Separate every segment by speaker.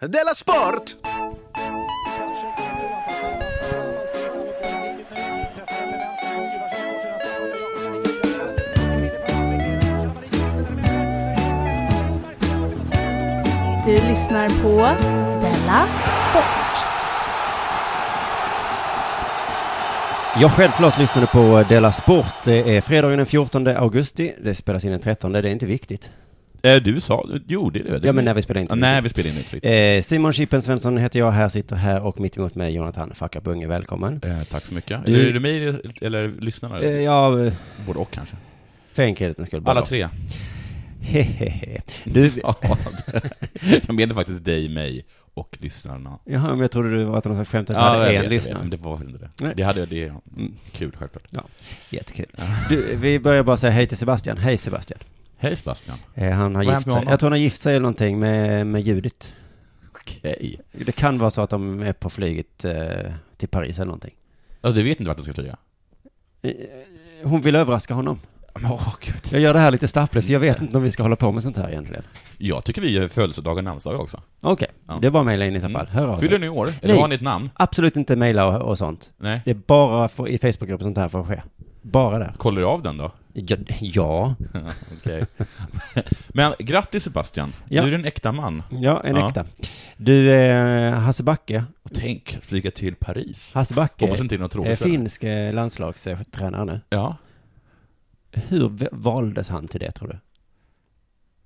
Speaker 1: Della Sport!
Speaker 2: Du lyssnar på Della Sport.
Speaker 3: Jag självklart lyssnade på eh, Della Sport. Det är fredagen den 14 augusti. Det spelas in den 13. Det är inte viktigt.
Speaker 4: Eh, du sa, jo det är det.
Speaker 3: Ja, men när vi spelar in.
Speaker 4: Ja, när vi spelar in Netflix.
Speaker 3: Eh, Simon Chippen Svensson heter jag, här sitter här och mitt emot mig Jonathan Facka Bunge, välkommen.
Speaker 4: Eh, tack så mycket.
Speaker 3: Du-
Speaker 4: Är det mig eller- eller lyssnarna?
Speaker 3: Eh, ja, eh,
Speaker 4: Både och kanske.
Speaker 3: för enkelhetens skull. bara
Speaker 4: Alla
Speaker 3: då.
Speaker 4: tre.
Speaker 3: Hehehe. Du,
Speaker 4: Ja, jag menar faktiskt dig, mig och lyssnarna.
Speaker 3: jaha, men jag trodde du var att någon slags skämt att du hade en
Speaker 4: jag vet, jag vet,
Speaker 3: lyssnare.
Speaker 4: men det var väl inte det.
Speaker 3: Nej.
Speaker 4: Det hade jag, det är mm, kul självklart.
Speaker 3: Jättekul. Du, vi börjar bara säga hej till Sebastian. Hej Sebastian.
Speaker 4: Hej Sebastian.
Speaker 3: Eh, han har
Speaker 4: Vad har
Speaker 3: gift
Speaker 4: hänt med
Speaker 3: sig.
Speaker 4: honom?
Speaker 3: Jag tror han har gift sig eller någonting med, med Judith.
Speaker 4: Okej.
Speaker 3: Det kan vara så att de är på flyget eh, till Paris eller någonting.
Speaker 4: Alltså, du vet inte vart du ska flyga?
Speaker 3: Eh, Hon vill överraska honom.
Speaker 4: Men, åh, gud.
Speaker 3: Jag gör det här lite stappligt för jag
Speaker 4: Mm.
Speaker 3: vet inte om vi ska hålla på med sånt här egentligen.
Speaker 4: Jag tycker vi gör födelsedagar och namnsdagar också.
Speaker 3: Okej,
Speaker 4: Ja. Mm.
Speaker 3: det är bara att mejla in i så fall. Hör av
Speaker 4: Fyller
Speaker 3: dig.
Speaker 4: ni år? Eller
Speaker 3: Nej.
Speaker 4: har ni ett namn?
Speaker 3: Absolut inte mejla och, och sånt.
Speaker 4: Nej.
Speaker 3: Det är bara för, i Facebookgruppen sånt här får ske. Bara där.
Speaker 4: Kollar du av den då?
Speaker 3: Ja. Ja,
Speaker 4: Okej. Men grattis Sebastian.
Speaker 3: Ja.
Speaker 4: Nu är du en äkta man.
Speaker 3: ja en
Speaker 4: Ja.
Speaker 3: äkta. Du, eh, Hasse Backe.
Speaker 4: Och tänk, flyga till Paris.
Speaker 3: Hasse Backe
Speaker 4: Hoppas inte det är något
Speaker 3: är
Speaker 4: tråkigt.
Speaker 3: finsk eh, landslagstränare nu.
Speaker 4: Ja.
Speaker 3: Hur v- valdes han till det tror du?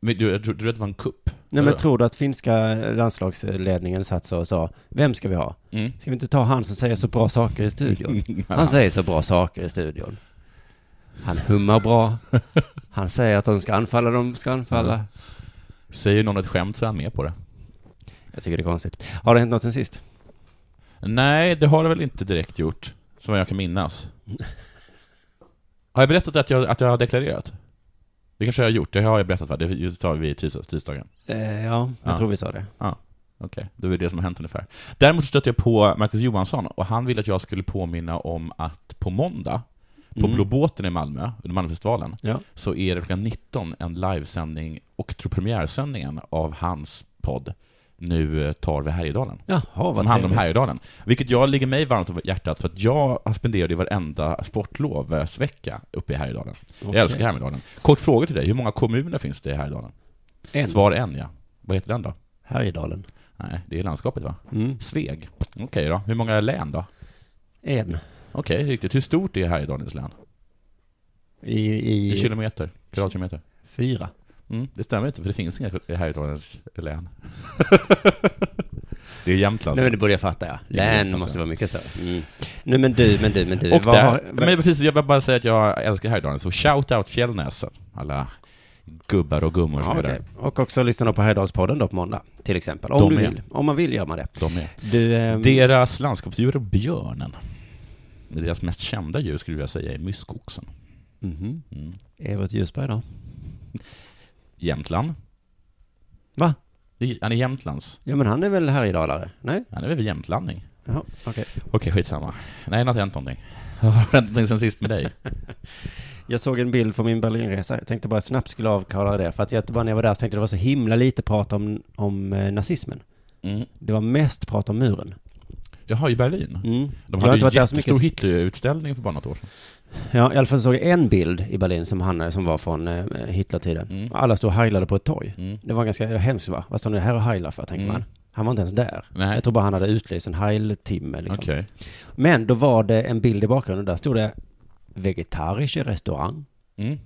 Speaker 4: Men du, jag tror- du att det var en kupp?
Speaker 3: Nej
Speaker 4: Eller?
Speaker 3: men tror du att finska landslagsledningen satt så och sa, vem ska vi ha?
Speaker 4: Mm.
Speaker 3: Ska vi inte ta han som säger så bra saker i studion? Han säger så bra saker i studion. Han hummar bra. Han säger att de ska anfalla, de ska anfalla.
Speaker 4: Säger någon ett skämt så är han med på det.
Speaker 3: Jag tycker det är konstigt. Har det hänt något sen sist?
Speaker 4: Nej, det har det väl inte direkt gjort. Som jag kan minnas. Har jag berättat att jag, att jag har deklarerat? Det kanske jag har gjort, det har jag berättat va? Det just sa vi i tisdags, tisdagen.
Speaker 3: Eh, ja, jag
Speaker 4: Ja.
Speaker 3: tror vi sa det.
Speaker 4: Okej, det är väl det som har hänt ungefär. Däremot stötte jag på Marcus Johansson och han ville att jag skulle påminna om att på måndag, på
Speaker 3: Mm.
Speaker 4: Blå båten i Malmö, under Malmöfestivalen,
Speaker 3: Ja.
Speaker 4: så är det klockan 19 en livesändning och tror premiärsändningen av hans podd Nu eh, tar vi Härjedalen.
Speaker 3: Jaha, vad
Speaker 4: Som handlar om
Speaker 3: trevligt.
Speaker 4: Härjedalen. Vilket jag ligger mig varmt om hjärtat för att jag spenderade ju varenda sportlovsvecka uppe i Härjedalen.
Speaker 3: Okej.
Speaker 4: Jag älskar Härjedalen. Kort fråga till dig, hur många kommuner finns det i Härjedalen?
Speaker 3: En.
Speaker 4: Svar en ja. Vad heter den då?
Speaker 3: Härjedalen.
Speaker 4: Nej, det är landskapet va?
Speaker 3: Mm.
Speaker 4: Sveg. Okej då. Hur många län då?
Speaker 3: En.
Speaker 4: Okej, riktigt. Hur stort är Härjedalens län?
Speaker 3: I,
Speaker 4: I
Speaker 3: i
Speaker 4: kilometer? Kvadratkilometer?
Speaker 3: fyra.
Speaker 4: Mm, det stämmer inte, för det finns inga i Härjedalens län. det är Jämtland.
Speaker 3: Nej men det börjar jag fatta ja.
Speaker 4: Det börjar jag
Speaker 3: Län
Speaker 4: fatta.
Speaker 3: måste vara mycket större. Mm. Nej men du, men du, men du.
Speaker 4: Och
Speaker 3: Vad
Speaker 4: där,
Speaker 3: har-
Speaker 4: men precis, jag vill bara säga att jag älskar Härjedalen, så shout-out Fjällnäsen. Alla gubbar och gummor som
Speaker 3: Ja,
Speaker 4: är
Speaker 3: okej.
Speaker 4: där.
Speaker 3: Och också lyssna då på Härjedalspodden då på måndag, till exempel. Om
Speaker 4: De
Speaker 3: du
Speaker 4: är-
Speaker 3: vill. Om man vill gör man det.
Speaker 4: De är.
Speaker 3: Du, ehm,
Speaker 4: Deras landskapsdjur är björnen. Deras mest kända djur skulle jag säga är myskoxen.
Speaker 3: Mhm.
Speaker 4: Mm.
Speaker 3: Evert Ljusberg då?
Speaker 4: Jämtland.
Speaker 3: Va?
Speaker 4: Det är- Han är jämtlands.
Speaker 3: Ja men han är väl härjedalare? Nej?
Speaker 4: Han är väl jämtlandning.
Speaker 3: Jaha, okej.
Speaker 4: Okej, skitsamma. Nej, det har inte hänt någonting. Har det hänt någonting sen sist med dig?
Speaker 3: Jag såg en bild från min Berlinresa. Jag tänkte bara snabbt skulle avklara det. För att jag, bara när jag var där så tänkte jag det var så himla lite prat om, om eh, nazismen.
Speaker 4: Mm.
Speaker 3: Det var mest prat om muren.
Speaker 4: Jaha, i Berlin?
Speaker 3: Mm.
Speaker 4: De
Speaker 3: Jag har
Speaker 4: hade
Speaker 3: inte
Speaker 4: ju
Speaker 3: varit där så
Speaker 4: jättestor
Speaker 3: mycket.
Speaker 4: Hitlerutställning för bara något år sedan.
Speaker 3: Ja, i alla fall såg jag en bild i Berlin som, han, som var från eh, Hitlertiden.
Speaker 4: Mm.
Speaker 3: Alla stod och heilade på ett torg.
Speaker 4: Mm.
Speaker 3: Det var ganska hemskt va? Vad står ni här och heilar för, tänker
Speaker 4: Mm.
Speaker 3: man. Han var inte ens där.
Speaker 4: Nej.
Speaker 3: Jag tror bara han hade utlyst en heiltimme liksom.
Speaker 4: Okej.
Speaker 3: Men då var det en bild i bakgrunden. Där stod det vegetarische restaurang.
Speaker 4: Mm.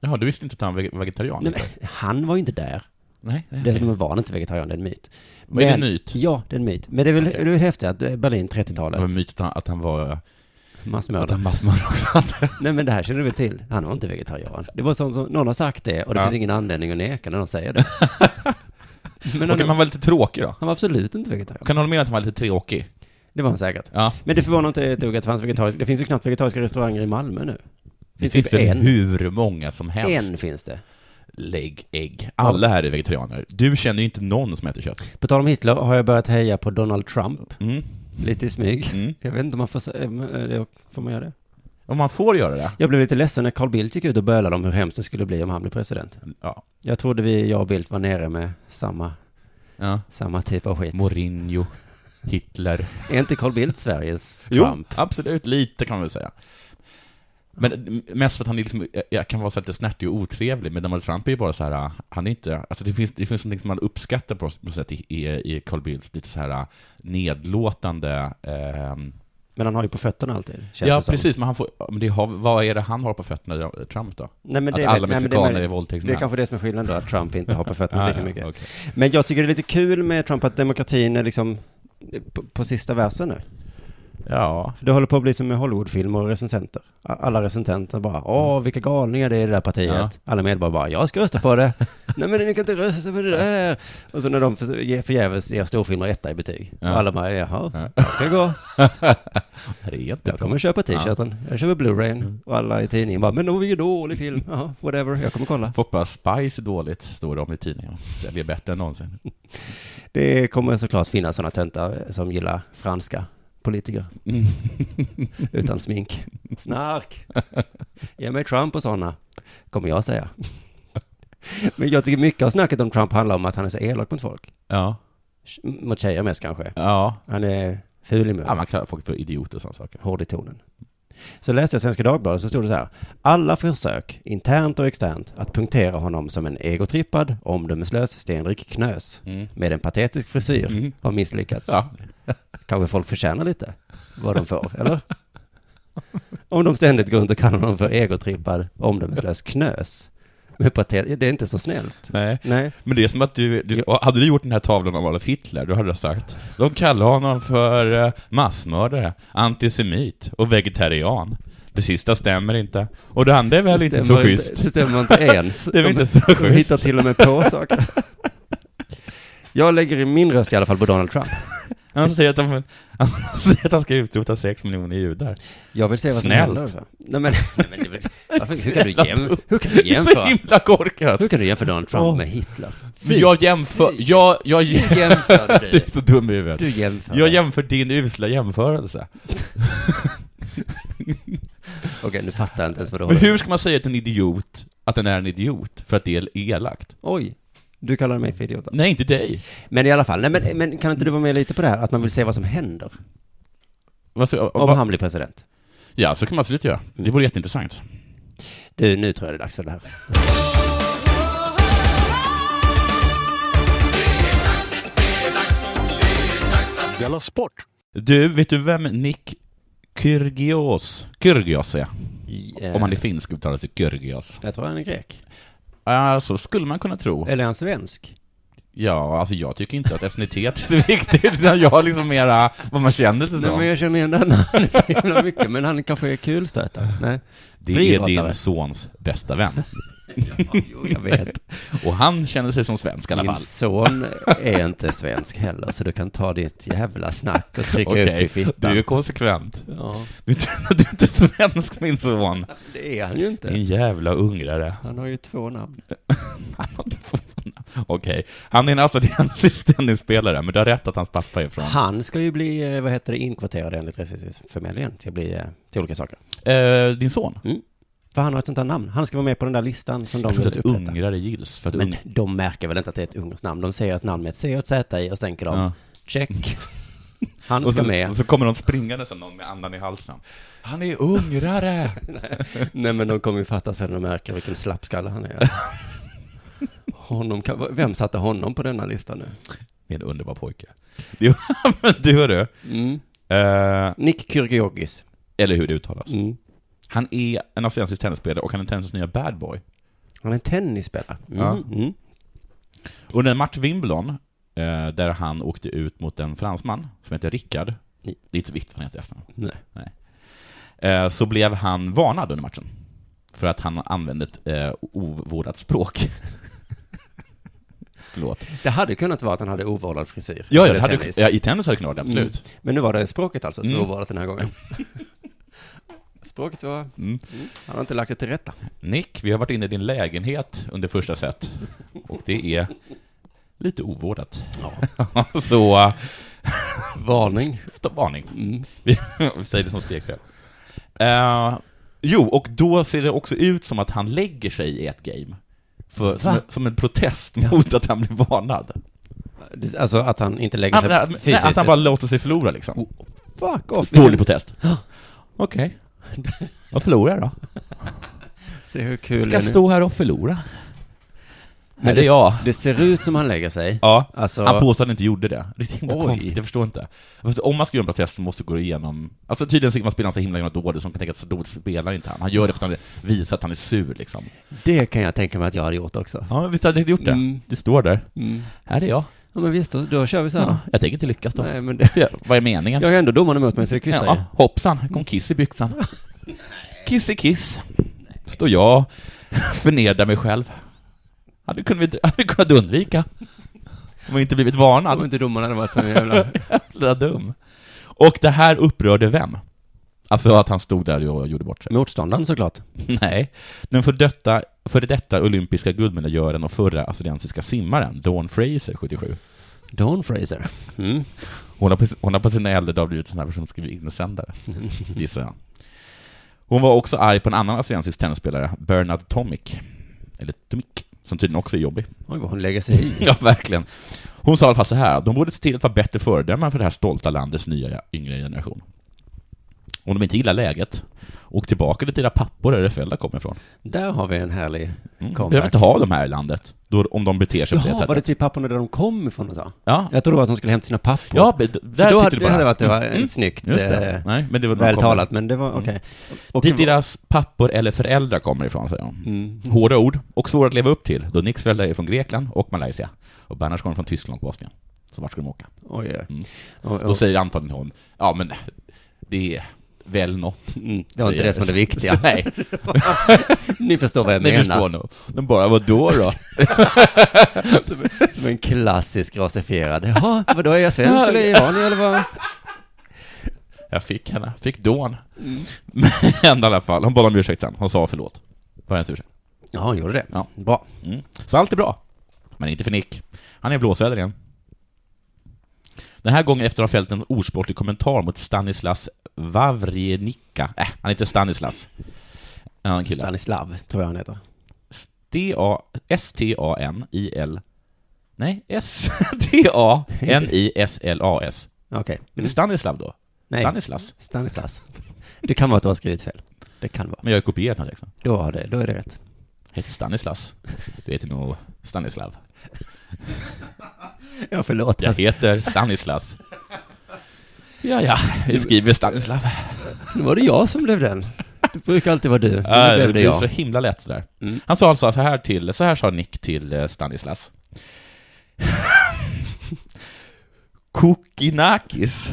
Speaker 4: Jaha, du visste inte att han var veg- vegetarian?
Speaker 3: Nej,
Speaker 4: inte?
Speaker 3: men han var ju inte där.
Speaker 4: Nej. nej,
Speaker 3: Det
Speaker 4: nej.
Speaker 3: som var han inte vegetarian, det är en myt.
Speaker 4: Vad är det myt?
Speaker 3: Ja, det är en myt. Men det är väl,
Speaker 4: Okej.
Speaker 3: det är väl häftigt att eh, Berlin
Speaker 4: Det var
Speaker 3: 30-talet,
Speaker 4: myt att han, att han var... Att
Speaker 3: massmördare.
Speaker 4: han massmördare också. hade.
Speaker 3: Nej men det här känner du väl till? Han var inte vegetarian. Det var sånt som, någon har sagt det och det
Speaker 4: Ja.
Speaker 3: finns ingen anledning att neka när de säger det. men
Speaker 4: Okej, men
Speaker 3: han,
Speaker 4: han var lite tråkig då?
Speaker 3: han var absolut inte vegetarian.
Speaker 4: Kan du hålla med att han var lite tråkig?
Speaker 3: Det var han säkert.
Speaker 4: Ja.
Speaker 3: Men det förvånar inte ett dugg att det fanns vegetariska, det finns ju knappt vegetariska restauranger i Malmö nu.
Speaker 4: Det
Speaker 3: Finns
Speaker 4: finns
Speaker 3: typ
Speaker 4: väl
Speaker 3: en.
Speaker 4: hur många som helst?
Speaker 3: En finns det.
Speaker 4: Lägg ägg. Alla här är vegetarianer. Du känner ju inte någon som äter kött.
Speaker 3: På tal om Hitler har jag börjat heja på Donald Trump,
Speaker 4: Mm.
Speaker 3: lite i smyg.
Speaker 4: Mm.
Speaker 3: Jag vet inte om man får, sä- eh, men, eh, får man göra det?
Speaker 4: Om man får göra det?
Speaker 3: Jag blev lite ledsen när Carl Bildt gick ut och bölade om hur hemskt det skulle bli om han blev president.
Speaker 4: Ja.
Speaker 3: Jag trodde vi, jag och Bildt var nere med samma
Speaker 4: Ja.
Speaker 3: Samma typ av skit.
Speaker 4: Mourinho, Hitler.
Speaker 3: Är inte Carl Bildt Sveriges Trump?
Speaker 4: Jo, absolut, lite kan man väl säga. Men mest för att han är liksom, jag kan vara så här lite snärtig och otrevlig, men Donald Trump är ju bara så här, han är inte, alltså det finns, det finns någonting som man uppskattar på något sätt i, i, i Carl Bildts lite så här nedlåtande, ehm,
Speaker 3: Men han har ju på fötterna alltid. känns
Speaker 4: ja
Speaker 3: det som.
Speaker 4: precis, men han får, men det har, vad är det han har på fötterna, Trump då?
Speaker 3: Nej, men
Speaker 4: Att
Speaker 3: det,
Speaker 4: alla
Speaker 3: nej, men det
Speaker 4: mexikaner
Speaker 3: möjligt.
Speaker 4: är våldtäktsmän?
Speaker 3: Det är kanske det som är skillnaden då, att Trump inte har på fötterna
Speaker 4: Ah,
Speaker 3: lika
Speaker 4: ja,
Speaker 3: mycket.
Speaker 4: okej.
Speaker 3: Men jag tycker det är lite kul med Trump att demokratin är liksom på, på sista versen nu.
Speaker 4: Ja,
Speaker 3: Det håller på att bli som med Hollywoodfilmer och recensenter. A- Alla recensenter bara, åh vilka galningar det är i det där partiet.
Speaker 4: Mm. Ja.
Speaker 3: Alla medborgare bara, jag ska rösta på det. Nej men ni kan inte rösta på det där. Och så när de förs- ge- förgäves ger storfilmer etta i betyg.
Speaker 4: Ja.
Speaker 3: Och alla bara, jaha,
Speaker 4: Ja.
Speaker 3: jag ska gå.
Speaker 4: det är
Speaker 3: Jag
Speaker 4: jättebra. Mm.
Speaker 3: kommer köpa t-shirten, jag köper blu-rayn. Och alla i tidningen bara, men det var ju dålig film. Jaha, whatever, jag kommer kolla.
Speaker 4: Folk bara, Spice är dåligt, står det om i tidningen. Det är bättre än någonsin.
Speaker 3: Det kommer såklart finnas sådana töntar som gillar franska politiker.
Speaker 4: Mm.
Speaker 3: Utan smink. Snark! Ge mig Trump och sådana, kommer jag säga. Men jag tycker mycket av snacket om Trump handlar om att han är så elak mot folk.
Speaker 4: Ja,
Speaker 3: Mot tjejer mest kanske.
Speaker 4: ja.
Speaker 3: Han är ful i munnen.
Speaker 4: ja man kallar folk för idioter och sådana saker.
Speaker 3: hård i tonen. Så läste jag Svenska Dagbladet så stod det så här. Alla försök, internt och externt, att punktera honom som en egotrippad, omdömeslös, stenrik knös
Speaker 4: Mm.
Speaker 3: med en patetisk frisyr
Speaker 4: Mm.
Speaker 3: har misslyckats.
Speaker 4: Ja,
Speaker 3: Kanske folk förtjänar lite vad de får, eller? Om de ständigt går runt och kallar honom för egotrippad, omdömeslös knös. Med patet, det är inte så snällt.
Speaker 4: nej.
Speaker 3: Nej,
Speaker 4: Men det är som att du, du och hade du gjort den här tavlan om Adolf Hitler, då hade du sagt De kallar honom för eh, massmördare, antisemit och vegetarian. Det sista stämmer inte. Och det andra är väl inte så
Speaker 3: stämmer
Speaker 4: schysst.
Speaker 3: Inte, det stämmer inte ens.
Speaker 4: Det är väl
Speaker 3: De-
Speaker 4: inte så
Speaker 3: De hittar
Speaker 4: schysst.
Speaker 3: till och med på saker. Jag lägger i min röst i alla fall på Donald Trump.
Speaker 4: Han säger att han, han, säger att han ska utrota sex miljoner judar.
Speaker 3: Jag vill se vad som
Speaker 4: Snällt.
Speaker 3: händer. också. Nej men, nej, men det är väl- varför, hur, kan du jäm, hur kan du
Speaker 4: Det är så
Speaker 3: jämföra?
Speaker 4: himla korkat!
Speaker 3: Hur kan du jämföra Donald Trump
Speaker 4: Åh.
Speaker 3: med Hitler?
Speaker 4: För jag jämför, jag, jag jämför...
Speaker 3: jämför
Speaker 4: Du är så dum i huvudet.
Speaker 3: Du jämför.
Speaker 4: Jag jämför din usla jämförelse.
Speaker 3: Okej, nu fattar jag inte ens vad du
Speaker 4: Men
Speaker 3: håller.
Speaker 4: hur ska man säga till en idiot att den är en idiot för att det är elakt?
Speaker 3: Oj, du kallar mig för idiot.
Speaker 4: Nej, inte dig.
Speaker 3: Men i alla fall, nej, men, men kan inte du vara med lite på det här? Att man vill se vad som händer
Speaker 4: Vad så-
Speaker 3: om
Speaker 4: vad-
Speaker 3: han blir president.
Speaker 4: Ja, så kan man absolut göra. Det vore jätteintressant.
Speaker 3: Du, nu tror jag det är dags för det här.
Speaker 1: Della Sport!
Speaker 4: Du, vet du vem Nick Kyrgios, Kyrgios är?
Speaker 3: I, eh,
Speaker 4: Om han är finsk uttalas det Kyrgios.
Speaker 3: Jag tror han är grek.
Speaker 4: Ja, så skulle man kunna tro.
Speaker 3: Eller är han svensk?
Speaker 4: Ja, alltså jag tycker inte att etnicitet är så viktigt, utan jag har liksom mera vad man känner till
Speaker 3: Nej, men
Speaker 4: som.
Speaker 3: jag känner igen den namnet så jävla mycket, men han kanske är kulstötare. Nej.
Speaker 4: Det är
Speaker 3: friidrottare.
Speaker 4: din sons bästa vän.
Speaker 3: Jo, jag vet.
Speaker 4: Och han känner sig som svensk i alla
Speaker 3: Min
Speaker 4: fall.
Speaker 3: son är inte svensk heller, så du kan ta ditt jävla snack och trycka upp i
Speaker 4: Okej,
Speaker 3: fittan.
Speaker 4: du är konsekvent.
Speaker 3: Ja,
Speaker 4: Du är, inte, du är inte svensk min son.
Speaker 3: det är han ju inte.
Speaker 4: Din jävla ungrare.
Speaker 3: Han har ju två namn.
Speaker 4: Han har inte fått namn. Okej, han är en australiensisk tennisspelare, men du har rätt att hans pappa är från...
Speaker 3: Han ska ju bli, eh, vad heter det, inkvoterad enligt rättviseförmedlingen till, att bli, eh, till olika saker.
Speaker 4: Eh, din son?
Speaker 3: För han har ett sånt här namn. Han ska vara med på den där listan som de
Speaker 4: Jag tror
Speaker 3: vill
Speaker 4: inte att
Speaker 3: upprätta.
Speaker 4: ungrare gills, för att
Speaker 3: Men
Speaker 4: ung...
Speaker 3: de märker väl inte att det är ett ungerskt namn. De säger ett namn med ett C och ett Z i och så tänker de,
Speaker 4: Ja.
Speaker 3: check. Han
Speaker 4: Och
Speaker 3: ska
Speaker 4: så,
Speaker 3: med.
Speaker 4: och så kommer de springande sen, någon med andan i halsen. Han är ungrare!
Speaker 3: Nej men de kommer ju fatta sen när de märker vilken slappskalle han är. Honom kan, vem satte honom på denna lista nu?
Speaker 4: Det är en underbar pojke. Det är, men du hörru,
Speaker 3: Mm.
Speaker 4: eh,
Speaker 3: Nick Kyrgiogis.
Speaker 4: eller hur det uttalas.
Speaker 3: Mm.
Speaker 4: Han är en australiensisk tennisspelare och han är tennisens nya bad boy.
Speaker 3: Han är en tennisspelare. Mm.
Speaker 4: Ja.
Speaker 3: Mm.
Speaker 4: Under en match Wimbledon, eh, där han åkte ut mot en fransman som heter Rickard,
Speaker 3: Nej.
Speaker 4: det är inte så viktigt vad han heter i efternamn,
Speaker 3: Nej.
Speaker 4: eh, så blev han varnad under matchen. För att han använde ett eh, ovårdat språk. Förlåt.
Speaker 3: Det hade kunnat vara att han hade ovårdad frisyr.
Speaker 4: Ja, ja,
Speaker 3: Eller
Speaker 4: det hade,
Speaker 3: tennis. Mm.
Speaker 4: ja, i tennis hade det kunnat vara det, absolut.
Speaker 3: Men nu var det språket alltså som
Speaker 4: Mm.
Speaker 3: var ovårdat den här gången. språket var...
Speaker 4: Mm.
Speaker 3: Han har inte lagt det till rätta.
Speaker 4: Nick, vi har varit inne i din lägenhet under första set. Och det är lite ovårdat. så, eh,
Speaker 3: Varning.
Speaker 4: stopp, varning.
Speaker 3: Mm.
Speaker 4: Vi vi säger det som stekfel. Eh, jo, och då ser det också ut som att han lägger sig i ett game. För, som,
Speaker 3: Va?
Speaker 4: en- som en protest mot att han blir varnad.
Speaker 3: Det- Alltså att han inte lägger
Speaker 4: Han,
Speaker 3: sig
Speaker 4: nej, nej,
Speaker 3: fysiskt.
Speaker 4: att han bara låter sig förlora liksom.
Speaker 3: Fuck off.
Speaker 4: Dålig på test. Okej. Vad förlorar jag då?
Speaker 3: Se hur kul
Speaker 4: Ska
Speaker 3: det är nu.
Speaker 4: stå här och förlora?
Speaker 3: Men
Speaker 4: Här är jag.
Speaker 3: Det ser ut som han lägger sig.
Speaker 4: Ja.
Speaker 3: Alltså,
Speaker 4: Han påstår att han inte gjorde det. Det är så himla
Speaker 3: Oj.
Speaker 4: konstigt, jag förstår inte. Fast om man ska göra en bra test så måste det gå igenom... Alltså tydligen så kan man spela så himla himla dåligt så man kan tänka att så dåligt spelar inte han. Han gör det för att han visar att han är sur liksom.
Speaker 3: det kan jag tänka mig att jag hade gjort också.
Speaker 4: Ja, men visst hade du gjort det?
Speaker 3: Mm.
Speaker 4: Du står där.
Speaker 3: Mm.
Speaker 4: Här är jag.
Speaker 3: Ja men visst, då, då kör vi så här
Speaker 4: Ja.
Speaker 3: då.
Speaker 4: Jag tänker inte lyckas då.
Speaker 3: Nej men det...
Speaker 4: Ja, Vad är meningen?
Speaker 3: Jag har ändå domarna mot mig så det kvittar
Speaker 4: ja, hoppsan, kom kiss i byxan. Kiss i kiss. Står jag och förnedrar mig själv. Hade kunnat, hade kunnat undvika. Om jag inte blivit
Speaker 3: ju. Om
Speaker 4: varnad.
Speaker 3: inte domarna hade varit så jävla...
Speaker 4: Jävla dum. Och det här upprörde vem? Alltså att han stod där och gjorde bort sig.
Speaker 3: Motståndaren såklart.
Speaker 4: Nej. Den för detta, före detta olympiska guldmedaljören och förra australiensiska simmaren, Dawn Fraser, 77.
Speaker 3: Don Fraser. Mm.
Speaker 4: Hon har, på, hon har på sina äldre dagar blivit en sån här person som skriver insändare, gissar jag. Hon var också arg på en annan australiensisk tennisspelare, Bernard Tomic. Eller Tomic, som tydligen också är jobbig.
Speaker 3: Oj vad hon lägger sig i.
Speaker 4: Ja, verkligen. Hon sa i alla fall så här, de borde se till att vara bättre föredömen för det här stolta landets nya yngre generation. Om de inte gillar läget, åk tillbaka till era pappor där era föräldrar kommer ifrån.
Speaker 3: Där har vi en härlig
Speaker 4: Mm.
Speaker 3: comeback.
Speaker 4: behöver inte ha de här i landet, då, om de beter sig på det
Speaker 3: Jaha,
Speaker 4: sättet.
Speaker 3: var det till papporna där de kom ifrån och så?
Speaker 4: Ja,
Speaker 3: Jag trodde det var att de skulle hämta sina pappor.
Speaker 4: ja men d-
Speaker 3: då
Speaker 4: där tyckte
Speaker 3: hade,
Speaker 4: du
Speaker 3: det
Speaker 4: bara...
Speaker 3: hade varit det var
Speaker 4: Mm.
Speaker 3: snyggt.
Speaker 4: Just det.
Speaker 3: eh,
Speaker 4: Nej, men det var när de
Speaker 3: Väl
Speaker 4: kom- Mm.
Speaker 3: talat, men det var okej. Och-
Speaker 4: Dit deras pappor eller föräldrar kommer ifrån, säger hon.
Speaker 3: Mm.
Speaker 4: Hårda ord och svåra att leva upp till, då Nicks föräldrar är från Grekland och Malaysia. Och Bernhards kommer från Tyskland och Bosnien. Så vart ska de åka?
Speaker 3: Oj, oj.
Speaker 4: Mm.
Speaker 3: Oj,
Speaker 4: Då
Speaker 3: oj.
Speaker 4: säger antagligen hon, ja men det är väl något.
Speaker 3: Mm. Det var inte
Speaker 4: säger-
Speaker 3: det som var det viktiga.
Speaker 4: Så, nej,
Speaker 3: Ni förstår vad jag
Speaker 4: ni förstår
Speaker 3: menar.
Speaker 4: nog. De bara, vadå då?
Speaker 3: Som en klassisk rasifierad. Jaha, vadå, är jag svensk eller iranier eller vad?
Speaker 4: Jag fick henne, fick dån.
Speaker 3: Mm.
Speaker 4: Men i alla fall, hon bad om ursäkt sen. Hon sa förlåt. Var hennes ursäkt.
Speaker 3: Ja, hon gjorde det.
Speaker 4: Ja.
Speaker 3: Bra.
Speaker 4: Mm. Så allt är bra. Men inte för Nick. Han är i blåsväder igen. Den här gången efter att ha fällt en osportlig kommentar mot Stanislas Wawrienicka. Äh, han heter Stanislas. En annan kille.
Speaker 3: Stanislav, tror jag han heter.
Speaker 4: D-A- S-T-A-N-I-L... Nej, S-T-A-N-I-S-L-A-S.
Speaker 3: Okej.
Speaker 4: Är det Stanislav då?
Speaker 3: Mm. Nej,
Speaker 4: Stanislas?
Speaker 3: Stanislas. Det kan vara att du har skrivit fel. Det kan vara.
Speaker 4: Men jag har ju kopierat den här texten.
Speaker 3: Då, har det, då är det rätt.
Speaker 4: Jag heter Stanislas. Du heter nog Stanislav.
Speaker 3: Ja, förlåt.
Speaker 4: Jag heter Stanislas. Ja, ja, jag skriver Stanislav.
Speaker 3: Nu var det jag som blev den. Det brukar alltid vara du. Nu
Speaker 4: Ja,
Speaker 3: blev det
Speaker 4: Äh, är så
Speaker 3: jag.
Speaker 4: himla lätt sådär.
Speaker 3: Mm.
Speaker 4: Han sa alltså så här till, så här sa Nick till eh, Stanislas. Kokinakis.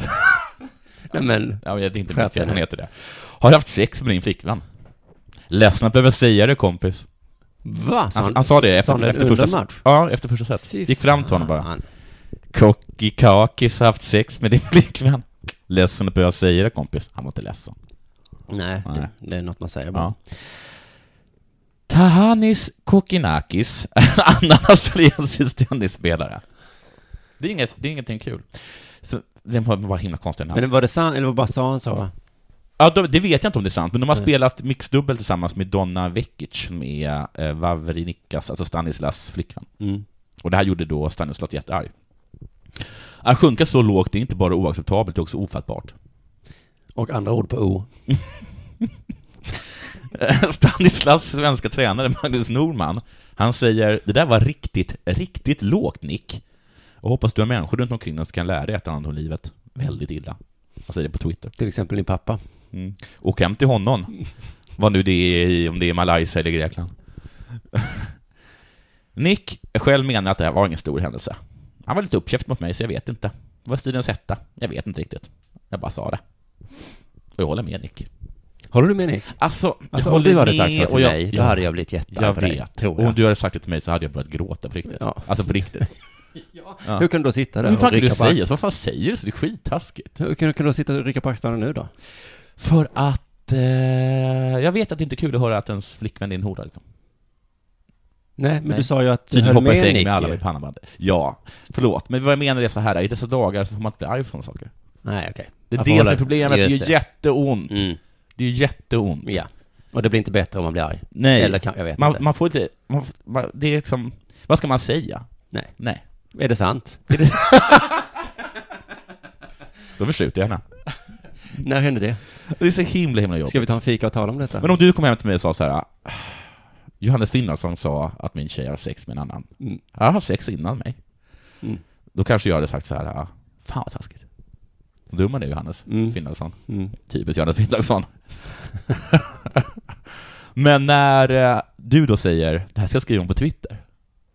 Speaker 3: Nej, men,
Speaker 4: Ja, men det är inte
Speaker 3: Sköter
Speaker 4: mitt fel, han
Speaker 3: det.
Speaker 4: heter det. Har du haft sex med din flickvän? Ledsen att behöva säga det kompis.
Speaker 3: va?
Speaker 4: Han, han sa det
Speaker 3: sa han
Speaker 4: efter, efter
Speaker 3: under
Speaker 4: första
Speaker 3: match?
Speaker 4: Ja, efter första set.
Speaker 3: Fy
Speaker 4: Gick fram till honom bara.
Speaker 3: fan.
Speaker 4: Kokikakis har haft sex med din flickvän. Ledsen att behöva säga det kompis. Han var inte ledsen.
Speaker 3: Nej,
Speaker 4: Nej.
Speaker 3: Det, det är något man säger bara.
Speaker 4: Ja. Tahanis Kokinakis är en annan australiensisk tennisspelare. Det är, inget, det är ingenting kul. Så, det var bara himla konstiga namn.
Speaker 3: Men var det sant, eller var bara sa han så?
Speaker 4: Ja, de, det vet jag inte om det är sant, men de har spelat mixdubbel tillsammans med Donna Vekic, med eh, Wawrinkas, alltså Stanislas flickvän.
Speaker 3: Mm.
Speaker 4: Och det här gjorde då Stanislas jättearg. Att sjunka så lågt är inte bara oacceptabelt, det är också ofattbart.
Speaker 3: Och andra ord på O.
Speaker 4: Stanislas svenska tränare Magnus Norman, han säger det där var riktigt, riktigt lågt Nick. Och hoppas du har människor runt omkring dig som kan lära dig ett annat om livet väldigt illa. Han säger det på Twitter.
Speaker 3: Till exempel din pappa.
Speaker 4: Mm. Åk hem till honom. Vad nu det är, i- om det är Malaysia eller Grekland. Nick själv menar att det här var ingen stor händelse. Han var lite uppkäft mot mig, så jag vet inte. Vad är stilens hetta? Jag vet inte riktigt. Jag bara sa det. Och jag håller med Nick.
Speaker 3: Håller du med Nick?
Speaker 4: Alltså,
Speaker 3: Alltså,
Speaker 4: jag
Speaker 3: om du
Speaker 4: håller
Speaker 3: hade
Speaker 4: med
Speaker 3: sagt så till
Speaker 4: och jag,
Speaker 3: mig, då
Speaker 4: jag-
Speaker 3: hade jag blivit jättearg
Speaker 4: jag
Speaker 3: på dig,
Speaker 4: vet.
Speaker 3: tror
Speaker 4: Och om
Speaker 3: jag.
Speaker 4: du hade sagt det till mig så hade jag börjat gråta på riktigt.
Speaker 3: Ja.
Speaker 4: Alltså på riktigt. Ja.
Speaker 3: Hur kan du då sitta där
Speaker 4: Hur fan
Speaker 3: och
Speaker 4: kan
Speaker 3: rycka
Speaker 4: du
Speaker 3: på
Speaker 4: säga
Speaker 3: axlarna?
Speaker 4: så? Vad fan säger du så? Det är skittaskigt.
Speaker 3: Hur kan du kan du då sitta och rycka på axlarna nu då?
Speaker 4: För att... Eh, jag vet att det inte är kul att höra att ens flickvän är en hora. Liksom.
Speaker 3: Nej, men
Speaker 4: Nej.
Speaker 3: du sa ju att du
Speaker 4: Tydligen
Speaker 3: höll
Speaker 4: hoppar i
Speaker 3: med
Speaker 4: säng
Speaker 3: Nick
Speaker 4: med alla
Speaker 3: ju.
Speaker 4: med pannband. Ja, förlåt. Men vad jag menar är så här, i dessa dagar så får man inte bli arg för sådana saker.
Speaker 3: Nej, okej.
Speaker 4: Det är
Speaker 3: Jag
Speaker 4: det
Speaker 3: får
Speaker 4: som
Speaker 3: hålla-
Speaker 4: är problemet, det är ju
Speaker 3: Just
Speaker 4: jätteont.
Speaker 3: Mm.
Speaker 4: Det är ju jätteont.
Speaker 3: Ja. Och det blir inte bättre om man blir arg.
Speaker 4: Nej,
Speaker 3: Eller kan, jag vet
Speaker 4: man,
Speaker 3: inte.
Speaker 4: man får inte... Man, får- man, det är liksom... Vad ska man säga?
Speaker 3: Nej.
Speaker 4: Nej.
Speaker 3: Är det sant?
Speaker 4: Då förskjuter jag henne.
Speaker 3: När hände det?
Speaker 4: Det är så himla himla jobbigt.
Speaker 3: Ska vi ta en fika och tala om detta?
Speaker 4: Men om du kom hem till mig och sa så här. "Ah, Johannes Finlandsson sa att min tjej har sex med en annan.
Speaker 3: Mm.
Speaker 4: Jag har sex innan mig.
Speaker 3: Mm.
Speaker 4: Då kanske jag hade sagt så här. "Ah, Fan vad taskigt. Vad dum man är Johannes
Speaker 3: Mm.
Speaker 4: Finlandsson.
Speaker 3: Mm.
Speaker 4: Typiskt Johannes Finlandsson. Men när eh, du då säger, det här ska jag skriva om på Twitter.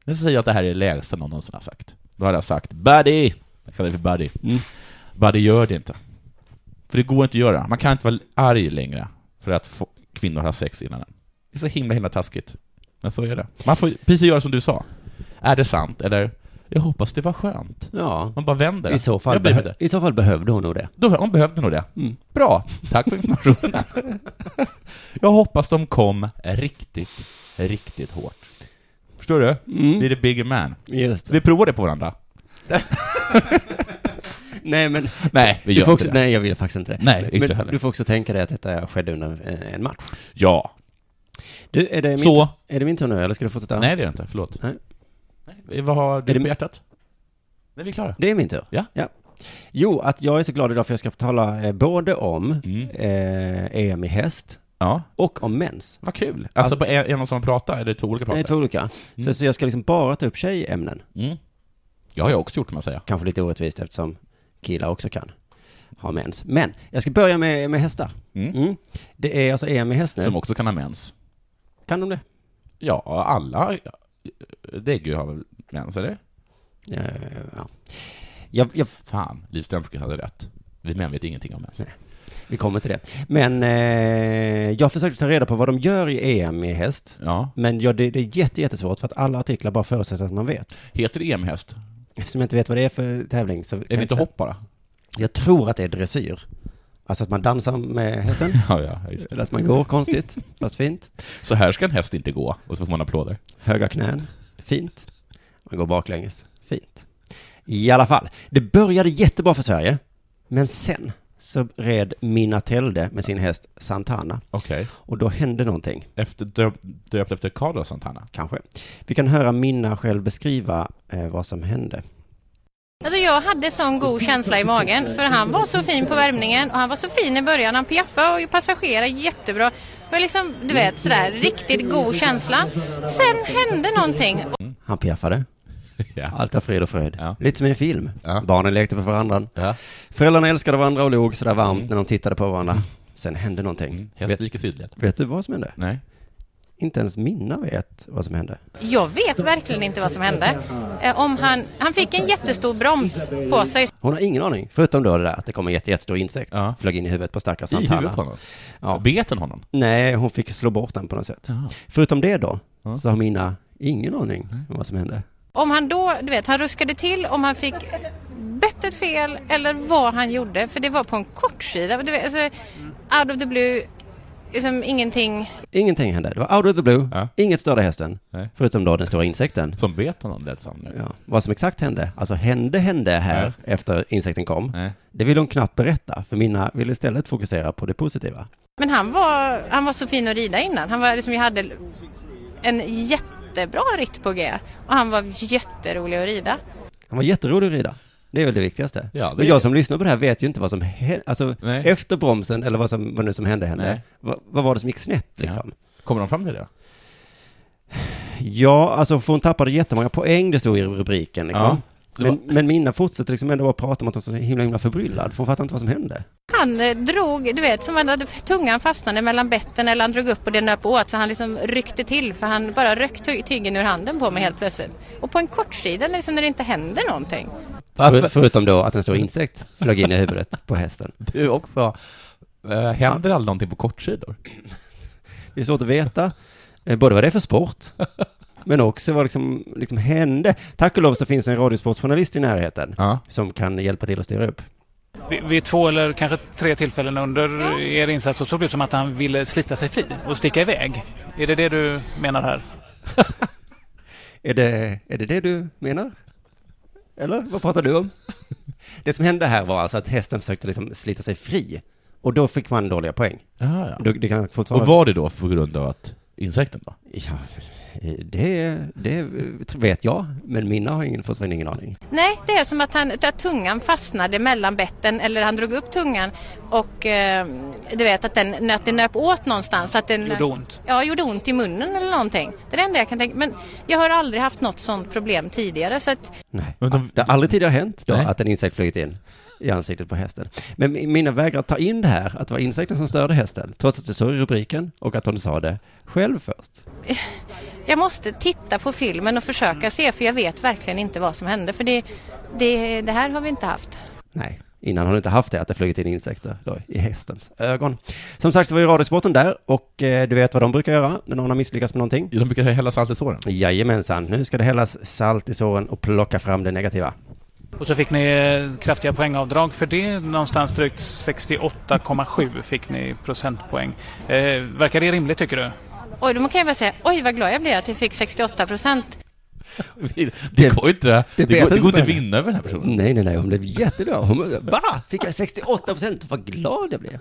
Speaker 4: Jag säger jag att det här är det lägsta någon någonsin har sagt. Då hade jag sagt, buddy! Jag kallar det för buddy.
Speaker 3: Mm.
Speaker 4: Buddy gör det inte. För det går inte att göra. Man kan inte vara arg längre för att få, kvinnor har sex innan en. Det är så himla, himla taskigt. Men så är det. Man får precis göra som du sa. Är det sant? Eller, jag hoppas det var skönt.
Speaker 3: Ja.
Speaker 4: Man bara vänder det.
Speaker 3: I så, fall
Speaker 4: jag behövde.
Speaker 3: behö- I så fall behövde hon nog det.
Speaker 4: Då, hon behövde nog det.
Speaker 3: Mm.
Speaker 4: Bra, tack för informationen. jag hoppas de kom riktigt, riktigt hårt. Förstår du?
Speaker 3: Mm.
Speaker 4: Vi är the bigger man.
Speaker 3: Just
Speaker 4: Så vi provar det på varandra.
Speaker 3: Nej, men
Speaker 4: Nej, vi
Speaker 3: du
Speaker 4: gör
Speaker 3: får
Speaker 4: inte
Speaker 3: också,
Speaker 4: det.
Speaker 3: nej, jag vill faktiskt inte det.
Speaker 4: Nej, inte
Speaker 3: men
Speaker 4: heller.
Speaker 3: du får också tänka dig att detta skedde under en, en match.
Speaker 4: Ja.
Speaker 3: Du, är det min,
Speaker 4: Så.
Speaker 3: Är det min tur nu, eller ska du fortsätta?
Speaker 4: Nej, det är det inte. Förlåt.
Speaker 3: Nej.
Speaker 4: Nej, vad har du
Speaker 3: Är det-
Speaker 4: på hjärtat? Nej, vi är klara.
Speaker 3: Det är min tur.
Speaker 4: Ja.
Speaker 3: Jo, att jag är så glad idag för jag ska tala eh, både om
Speaker 4: Mm.
Speaker 3: eh, EM i häst
Speaker 4: Ja.
Speaker 3: och om mens.
Speaker 4: Vad kul. Alltså, på en, en som pratar, eller två olika
Speaker 3: Det är två
Speaker 4: pratar?
Speaker 3: olika. Så, så jag ska liksom bara ta upp tjejämnen.
Speaker 4: Mm. Jag har jag också gjort, kan man säga.
Speaker 3: Kanske lite orättvist eftersom killar också kan ha mens. Men jag ska börja med, med hästar.
Speaker 4: Mm.
Speaker 3: Mm. Det är alltså EM i häst nu.
Speaker 4: Som också kan ha mens.
Speaker 3: Kan de det?
Speaker 4: Ja, alla däggdjur har väl mens, eller?
Speaker 3: Eh, ja. jag, jag,
Speaker 4: Fan, Liv Strömquist hade rätt. Vi män vet ingenting om mens.
Speaker 3: vi kommer till det. Men eh, jag försökte ta reda på vad de gör i EM i häst.
Speaker 4: Ja.
Speaker 3: Men ja, det, det är jätte, jättesvårt för att alla artiklar bara förutsätter att man vet.
Speaker 4: Heter det EM-häst?
Speaker 3: Eftersom jag inte vet vad det är för tävling så...
Speaker 4: Är det inte hopp bara?
Speaker 3: Jag tror att det är dressyr. Alltså att man dansar med hästen.
Speaker 4: Ja, ja, just
Speaker 3: Eller att man går konstigt, fast fint.
Speaker 4: Så här ska en häst inte gå, och så får man applåder.
Speaker 3: Höga knän, fint. Man går baklänges, fint. I alla fall, det började jättebra för Sverige. Men sen så red Mina Telde med sin häst Santana.
Speaker 4: Okej.
Speaker 3: Och då hände någonting,
Speaker 4: Efter, döpt, döpt efter Carlos Santana?
Speaker 3: kanske. Vi kan höra Minna själv beskriva eh, vad som hände.
Speaker 5: Alltså jag hade sån god känsla i magen för han var så fin på värmningen och han var så fin i början. Han piaffade och passagerade jättebra. Det var liksom, du vet, sådär riktigt god känsla. Sen hände någonting
Speaker 3: Han piaffade.
Speaker 4: Ja.
Speaker 3: Allt var frid och fröjd.
Speaker 4: Ja.
Speaker 3: Lite som i en film.
Speaker 4: Ja.
Speaker 3: Barnen lekte på varandra.
Speaker 4: ja.
Speaker 3: Föräldrarna älskade varandra och log sådär varmt när de tittade på varandra. Sen hände någonting.
Speaker 4: Häst
Speaker 3: Vet,
Speaker 4: gick i sidled.
Speaker 3: vet du vad som hände?
Speaker 4: Nej.
Speaker 3: Inte ens Minna vet vad som hände.
Speaker 5: Jag vet verkligen inte vad som hände. Eh, Om han, han fick en jättestor broms på sig.
Speaker 3: Hon har ingen aning, förutom då det där att det kom en jätte, jättestor insekt.
Speaker 4: Ja.
Speaker 3: Flög in i huvudet på stackars
Speaker 4: I
Speaker 3: Santana.
Speaker 4: huvudet på honom?
Speaker 3: Ja.
Speaker 4: Bet den honom?
Speaker 3: Nej, hon fick slå bort den på något sätt. Förutom det då, så har Minna ingen aning om vad som hände.
Speaker 5: Om han då, du vet, han ruskade till, om han fick bettet fel eller vad han gjorde. För det var på en kortsida. Du vet, alltså, out of the blue, liksom ingenting.
Speaker 3: Ingenting hände. Det var out of the blue,
Speaker 4: Ja.
Speaker 3: inget störde hästen.
Speaker 4: Nej.
Speaker 3: Förutom då den stora insekten.
Speaker 4: Som bet honom, lät som nu.
Speaker 3: Ja. Vad som exakt hände, alltså hände hände här
Speaker 4: Ja.
Speaker 3: efter insekten kom.
Speaker 4: Nej.
Speaker 3: Det vill hon knappt berätta, för Minna vill istället fokusera på det positiva.
Speaker 5: Men han var, han var så fin att rida innan. Han var liksom, jag hade en jättebra ritt på G. Och han var jätterolig att rida.
Speaker 3: Han var jätterolig att rida. Det är väl det viktigaste.
Speaker 4: Ja, det
Speaker 3: Men
Speaker 4: är
Speaker 3: jag
Speaker 4: det.
Speaker 3: som lyssnar på det här vet ju inte vad som hände, alltså
Speaker 4: Nej.
Speaker 3: efter bromsen eller vad, som, vad nu som hände henne.
Speaker 4: Nej.
Speaker 3: Vad, vad var det som gick snett liksom?
Speaker 4: Kommer de fram till det?
Speaker 3: Ja, alltså för hon tappade jättemånga poäng, det stod i rubriken liksom.
Speaker 4: det
Speaker 3: Men, men Minna fortsätter liksom ändå bara prata om att hon var så himla, himla förbryllad, för hon fattar inte vad som hände.
Speaker 5: Han eh, drog, du vet, som han hade tungan fastnade mellan betten eller han drog upp och den nöp åt så han liksom ryckte till för han bara röck ty- tyggen ur handen på mig helt plötsligt. Och på en kortsida liksom när det inte händer någonting.
Speaker 3: För, förutom då att en stor insekt flög in i huvudet på hästen.
Speaker 4: Du också. Eh, händer aldrig någonting på kortsidor?
Speaker 3: Det är svårt att veta, eh, både vad det är för sport, men också vad liksom, liksom hände. Tack och lov så finns en radiosportjournalist i närheten
Speaker 4: Ja.
Speaker 3: som kan hjälpa till att styra upp.
Speaker 6: Vid, vid två eller kanske tre tillfällen under er insats så såg det ut som att han ville slita sig fri och sticka iväg. Är det det du menar här?
Speaker 3: Är det, är det det du menar? Eller vad pratar du om? Det som hände här var alltså att hästen försökte liksom slita sig fri. Och då fick man dåliga poäng.
Speaker 4: Ja, ja.
Speaker 3: Då- Det kan
Speaker 4: Och
Speaker 3: fortfarande...
Speaker 4: var det då på grund av att insekten då?
Speaker 3: Ja, det, det vet jag, men mina har ingen, fortfarande ingen aning.
Speaker 5: Nej, det är som att, han, att tungan fastnade mellan betten eller han drog upp tungan och eh, du vet att den, att den nöp åt någonstans. Att den,
Speaker 6: Gjorde ont.
Speaker 5: Ja, gjorde ont i munnen eller någonting. Det är det enda jag kan tänka Men jag har aldrig haft något sånt problem tidigare så att
Speaker 3: Nej.
Speaker 4: Men de-
Speaker 3: Det har aldrig tidigare hänt då,
Speaker 4: Nej.
Speaker 3: att en insekt flugit in i ansiktet på hästen. Men mi- mina vägrar ta in det här, att det var insekten som störde hästen, trots att det står i rubriken och att hon sa det själv först.
Speaker 5: jag måste titta på filmen och försöka se för jag vet verkligen inte vad som hände för det, det, det här har vi inte haft.
Speaker 3: Nej, innan har du inte haft det, att det flugit in insekter då, i hästens ögon. Som sagt så var ju Radiosporten där och eh, du vet vad de brukar göra när någon har misslyckats med någonting.
Speaker 4: De brukar hälla salt i såren.
Speaker 3: Jajamensan, nu ska det hällas salt i såren och plocka fram det negativa.
Speaker 6: Och så fick ni eh, kraftiga poängavdrag för det. Någonstans drygt 68,7 fick ni procentpoäng. Eh, verkar det rimligt tycker du?
Speaker 5: Oj, då kan jag bara säga oj vad glad jag blir att jag fick 68 procent.
Speaker 4: Det går inte, det
Speaker 3: vet inte
Speaker 4: går, det går inte
Speaker 3: vad det är.
Speaker 4: vinna över den här personen.
Speaker 3: Nej, nej, nej, hon blev jättebra. Hon blev, Va? Fick jag 68 procent? Vad glad jag blev.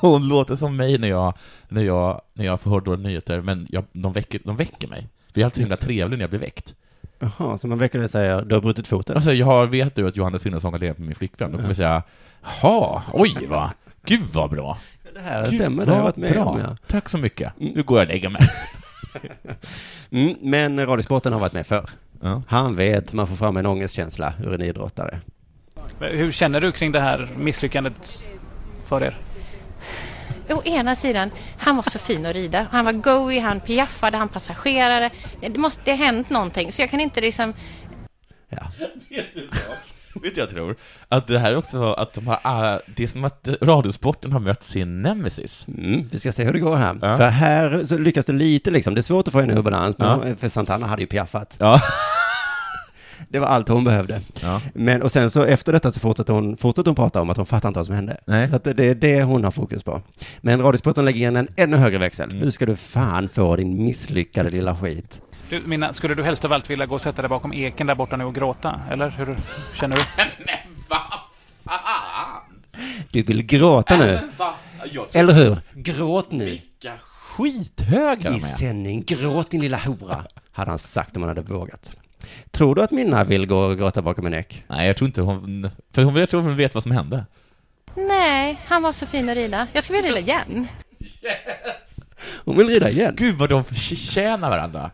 Speaker 4: Hon låter som mig när jag, när jag, när jag får hårdare nyheter, men jag, de, väcker, de väcker mig. Vi är alltid så himla
Speaker 3: Mm.
Speaker 4: trevliga när jag blir väckt.
Speaker 3: Jaha, så man väcker dig och säger, du har brutit foten.
Speaker 4: Alltså, jag har- vet du att Johannes Finnsson har legat med min flickvän? Då kommer jag säga, jaha, oj va, gud vad bra.
Speaker 3: Det här
Speaker 4: Gud,
Speaker 3: stämmer, det har jag
Speaker 4: vad
Speaker 3: varit med
Speaker 4: bra.
Speaker 3: om. Ja.
Speaker 4: Tack så mycket. Nu går jag och lägger mig.
Speaker 3: Mm, men Radiosporten har varit med förr.
Speaker 4: Ja.
Speaker 3: Han vet, man får fram en ångestkänsla ur en idrottare.
Speaker 6: Hur känner du kring det här misslyckandet för er?
Speaker 5: Å ena sidan, han var så fin att rida. Han var goey, han piaffade, han passagerare. Det måste det ha hänt någonting. Så jag kan inte liksom...
Speaker 3: Ja.
Speaker 4: Vet du så? Vet du, jag tror? Att det här är också att de har, äh, det är som att Radiosporten har mött sin nemesis.
Speaker 3: Mm, vi ska se hur det går här.
Speaker 4: Ja.
Speaker 3: För här så lyckas det lite liksom. Det är svårt att få henne ur balans, men
Speaker 4: Ja.
Speaker 3: hon- för Santana hade ju piaffat.
Speaker 4: Ja.
Speaker 3: Det var allt hon behövde.
Speaker 4: Ja.
Speaker 3: Men och sen så efter detta så fortsätter hon, fortsätter hon prata om att hon fattar inte vad som hände.
Speaker 4: Nej.
Speaker 3: Så att det, det är det hon har fokus på. Men Radiosporten lägger igen en ännu högre växel.
Speaker 4: Mm.
Speaker 3: Nu ska du fan få din misslyckade lilla skit.
Speaker 6: Du, Minna, skulle du helst av allt vilja gå och sätta dig bakom eken där borta nu och gråta? Eller hur känner du?
Speaker 3: Du vill gråta nu. Eller hur? Gråt nu.
Speaker 4: Vilka skithögar
Speaker 3: I
Speaker 4: de är.
Speaker 3: sändning, gråt din lilla hora, hade han sagt om han hade vågat. Tror du att Minna vill gå och gråta bakom en ek?
Speaker 4: Nej, jag tror inte hon... För hon, jag tror hon vet vad som hände.
Speaker 5: Nej, han var så fin att rida. Jag skulle vilja rida igen.
Speaker 3: Hon vill rida igen.
Speaker 4: Gud vad de förtjänar varandra.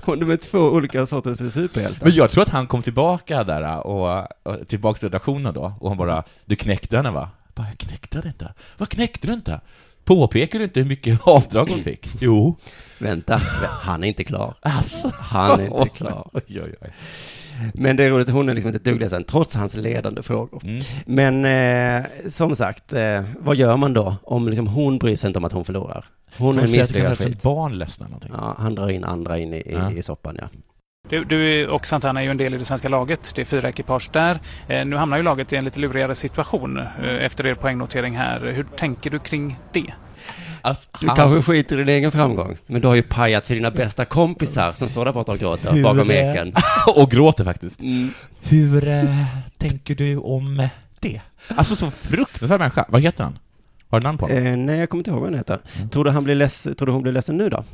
Speaker 3: Hon är två olika sorters superhjältar.
Speaker 4: Men jag tror att han kom tillbaka där och, och tillbaka till redaktionen då och han bara Du knäckte henne va? Jag Bara, jag knäckte henne inte. Vad knäckte du inte? Påpekar du inte hur mycket avdrag hon fick? Jo.
Speaker 3: Vänta, han är inte klar.
Speaker 4: Alltså.
Speaker 3: Han är inte klar.
Speaker 4: Oj, oj, oj.
Speaker 3: Men det är roligt, hon är liksom inte ett dugg ledsen, trots hans ledande frågor. Men eh, som sagt, eh, vad gör man då om liksom hon bryr sig inte om att hon förlorar? Hon är en
Speaker 4: säger att det kan
Speaker 3: misslyckad
Speaker 4: bli ett
Speaker 3: skit.
Speaker 4: barn ledsen eller någonting.
Speaker 3: Ja, han drar in andra in i, i,
Speaker 4: Ja.
Speaker 3: i soppan, ja.
Speaker 6: Du, du och Santana är ju en del i det svenska laget. Det är fyra ekipage där. Eh, nu hamnar ju laget i en lite lurigare situation eh, efter er poängnotering här. Hur tänker du kring det?
Speaker 4: Alltså,
Speaker 3: Du
Speaker 4: hans
Speaker 3: kanske skiter i din egen framgång, men du har ju pajat för dina bästa kompisar som står där borta och gråter
Speaker 4: Hur
Speaker 3: bakom
Speaker 4: är-
Speaker 3: eken.
Speaker 4: och gråter faktiskt.
Speaker 3: Mm.
Speaker 4: Hur eh, tänker du om eh, det? Alltså så fruktansvärd människa. Vad heter han? Har du namn på honom?
Speaker 3: Eh, nej, jag kommer inte ihåg vad han heter. Tror, du han blir less, tror du hon blir ledsen nu då?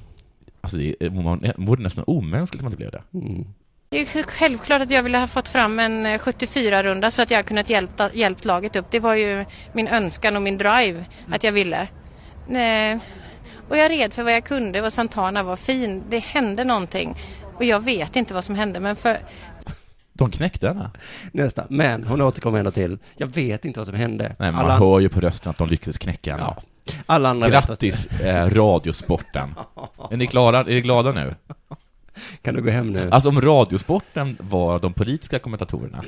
Speaker 4: Alltså det är- man vore nästan omänskligt om man inte blev det.
Speaker 3: Mm.
Speaker 5: Det är ju självklart att jag ville ha fått fram en 74-runda så att jag kunnat hjälpa, hjälpt laget upp. Det var ju min önskan och min drive att jag ville. Nej. Och jag red för vad jag kunde och Santana var fin. Det hände någonting. Och jag vet inte vad som hände men för
Speaker 4: De knäckte henne.
Speaker 3: Nästa. Men hon återkommer ändå till, jag vet inte vad som hände.
Speaker 4: Nej, man
Speaker 3: alla,
Speaker 4: hör ju på rösten att de lyckades knäcka henne.
Speaker 3: Ja. alla andra vet vad som-
Speaker 4: Grattis, eh, Radiosporten. Är ni klara? Är ni glada nu?
Speaker 3: Kan du gå hem nu?
Speaker 4: Alltså om Radiosporten var de politiska kommentatorerna,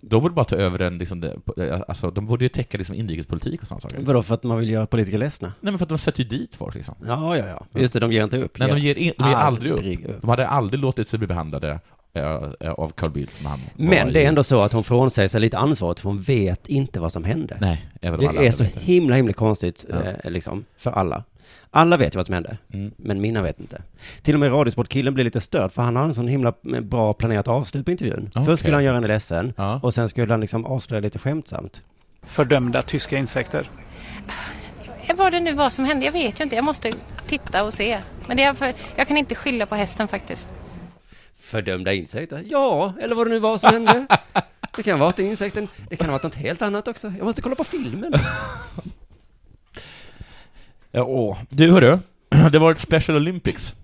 Speaker 4: de borde bara ta över den, liksom, det- alltså de borde ju täcka liksom inrikespolitik och sådana saker.
Speaker 3: Vadå, för att man vill göra politiker ledsna?
Speaker 4: Nej men för att de sätter ju dit folk liksom.
Speaker 3: Ja, ja, ja. Just det, de ger inte upp.
Speaker 4: Nej, de ger, in, de ger aldrig
Speaker 3: Aldrig
Speaker 4: upp.
Speaker 3: upp.
Speaker 4: De hade aldrig låtit sig bli behandlade eh, eh, av Carl Bildt som han var
Speaker 3: Men det
Speaker 4: i.
Speaker 3: är ändå så att hon frånsäger sig lite ansvaret, för hon vet inte vad som hände.
Speaker 4: Nej, även om alla
Speaker 3: det är
Speaker 4: andra
Speaker 3: så
Speaker 4: vet det.
Speaker 3: himla, himla konstigt,
Speaker 4: Ja.
Speaker 3: eh, liksom, för alla. Alla vet ju vad som hände,
Speaker 4: Mm.
Speaker 3: men Minna vet inte. Till och med Radiosportkillen blir lite störd, för han har en sån himla eh, bra planerat avslut på intervjun.
Speaker 4: Okej.
Speaker 3: Först skulle han göra henne ledsen,
Speaker 4: Ja.
Speaker 3: och sen skulle han liksom avslöja lite skämtsamt.
Speaker 6: Fördömda tyska insekter.
Speaker 5: Jag vad det nu var som hände. Jag vet ju inte. Jag måste titta och se. Men det är för, jag kan inte skylla på hästen faktiskt.
Speaker 3: Fördömda insekter? Ja, eller vad det nu var som hände. Det kan ha varit insekten. Det kan ha varit något helt annat också. Jag måste kolla på filmen.
Speaker 4: Ja, åh. Du hörru, det var ett Special Olympics.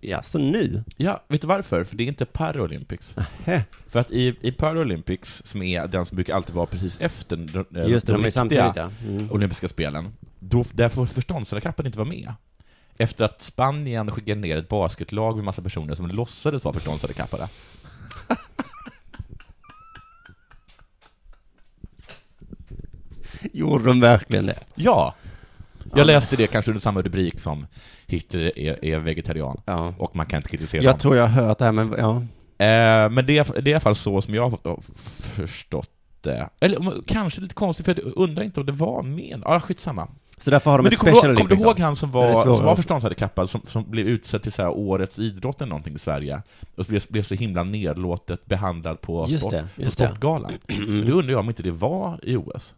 Speaker 3: Ja, så nu?
Speaker 4: Ja, vet du varför? För det är inte Paralympics.
Speaker 3: Heh.
Speaker 4: För att i, i Paralympics, som är den som brukar alltid vara precis efter de, eh,
Speaker 3: Just det, de är
Speaker 4: riktiga
Speaker 3: samtidigt, ja. Mm.
Speaker 4: olympiska spelen, då, där får förståndshandikappen inte vara med. Efter att Spanien skickade ner ett basketlag med massa personer som låtsades vara förståndshandikappade.
Speaker 3: Gjorde de verkligen det?
Speaker 4: Ja! Jag läste det kanske under samma rubrik som Hitler är, är vegetarian,
Speaker 3: Ja.
Speaker 4: och man kan inte kritisera
Speaker 3: Jag
Speaker 4: dem.
Speaker 3: tror jag har hört det här, men ja.
Speaker 4: Eh, men det är, det är i alla fall så som jag har förstått det. Eller om- kanske lite konstigt, för jag undrar inte om det var med. Ja, ah, skitsamma.
Speaker 3: Så därför har de
Speaker 4: Men du
Speaker 3: ett
Speaker 4: kommer
Speaker 3: Special liksom.
Speaker 4: du, ihåg- kommer
Speaker 3: Olympics.
Speaker 4: du ihåg han som
Speaker 3: Det är
Speaker 4: var,
Speaker 3: svårare.
Speaker 4: som var förståndshandikappad, som, som blev utsedd till så här årets idrott eller någonting i Sverige, och blev, blev så himla nedlåtet behandlad på,
Speaker 3: Just
Speaker 4: sport,
Speaker 3: det,
Speaker 4: på
Speaker 3: just det. Mm.
Speaker 4: Sportgalan? Men då undrar jag om inte det var i OS?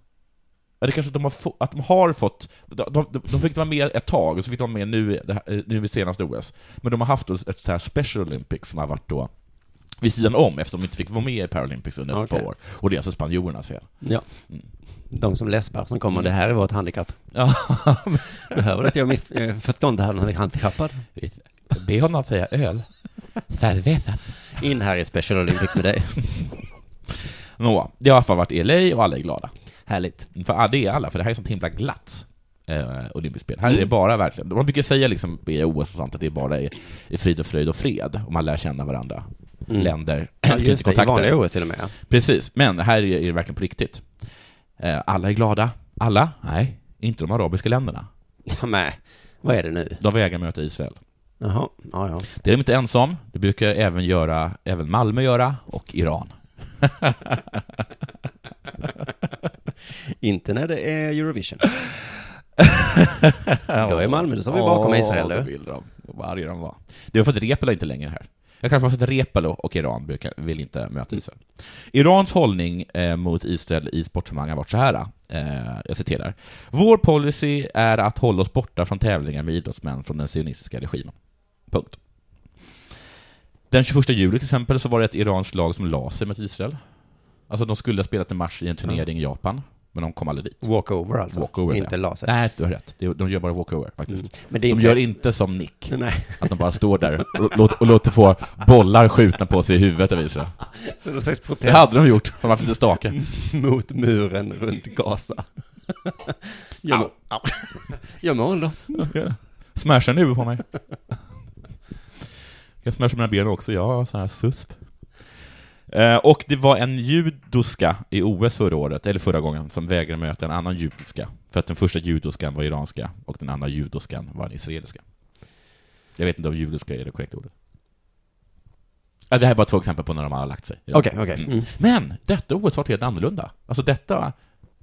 Speaker 4: Eller kanske att de har, få, att de har fått, de, de, de fick vara med ett tag, och så fick de vara med nu, i det här- nu i senaste OS. Men de har haft ett så här Special Olympics som har varit då vid sidan om, eftersom de inte fick vara med i Paralympics under ett
Speaker 3: Okej.
Speaker 4: par år. Och det är alltså spanjorernas fel.
Speaker 3: Ja. De som läspar som kommer,
Speaker 4: Mm.
Speaker 3: det här är vårt handikapp.
Speaker 4: Ja,
Speaker 3: Behöver du att jag miss- eh, förstånd här när han är handikappad?
Speaker 4: be honom att säga öl. Cerveza.
Speaker 3: In här i Special Olympics med dig.
Speaker 4: Nå, det har i alla fall varit i LA och alla är glada.
Speaker 3: Härligt.
Speaker 4: För ja, det är alla, för det här är sånt himla glatt eh, olympiskt spel. Här är det
Speaker 3: Mm.
Speaker 4: bara verkligen, man brukar säga liksom i OS och sånt att det är bara i, i frid och fröjd och fred, och man lär känna varandra.
Speaker 3: Mm.
Speaker 4: Länder,
Speaker 3: Ja, just det, i
Speaker 4: kontakter.
Speaker 3: vanliga OS till och med. ja.
Speaker 4: Precis, men här är är det verkligen på riktigt. Eh, alla är glada. Alla? Nej, inte de arabiska länderna.
Speaker 3: Ja, men vad är det nu?
Speaker 4: De vägrar möta Israel.
Speaker 3: Jaha, ja, ja.
Speaker 4: Det är de inte ensam. Det brukar även, göra, även Malmö göra, och Iran.
Speaker 3: Inte när det är Eurovision. Då är Malmö, då står vi bakom Israel,
Speaker 4: det
Speaker 3: du.
Speaker 4: vill de. Vad arga de var. Det var för att Reepalu inte längre är här. Jag kanske var för att Reepalu och Iran brukar, vill inte möta Israel. Irans hållning eh, mot Israel i sportsammanhang har varit så här. Eh, jag citerar. Vår policy är att hålla oss borta från tävlingar med idrottsmän från den sionistiska regimen. Punkt. Den 21 juli till exempel så var det ett iranskt lag som la sig mot Israel. Alltså de skulle ha spelat en match i en turnering i Japan, men de kom aldrig dit.
Speaker 3: Walkover alltså.
Speaker 4: Walkover,
Speaker 3: inte Mm.
Speaker 4: ja.
Speaker 3: laser.
Speaker 4: Nej, du har rätt. Det är- De gör bara walkover faktiskt.
Speaker 3: Men det är
Speaker 4: de
Speaker 3: inte-
Speaker 4: gör inte som Nick,
Speaker 3: Nej.
Speaker 4: att de bara står där och, låter, och låter få bollar skjutna på sig i huvudet av Israel.
Speaker 3: Så någon slags
Speaker 4: Det
Speaker 3: protest
Speaker 4: hade de gjort, om de haft lite stake.
Speaker 3: mot muren runt Gaza. Gör mål. Gör mål då.
Speaker 4: Smasha nu på mig. Jag smashar mina ben också, jag har sån här susp. Eh, Och det var en judoska i OS förra året, eller förra gången, som vägrade möta en annan judiska. För att den första judoskan var iranska och den andra judoskan var en israeliska. Jag vet inte om judiska är det korrekta ordet. Ja, det här är bara två exempel på när de har lagt sig.
Speaker 3: Okej, okej. Mm.
Speaker 4: Men detta OS var helt annorlunda. Alltså detta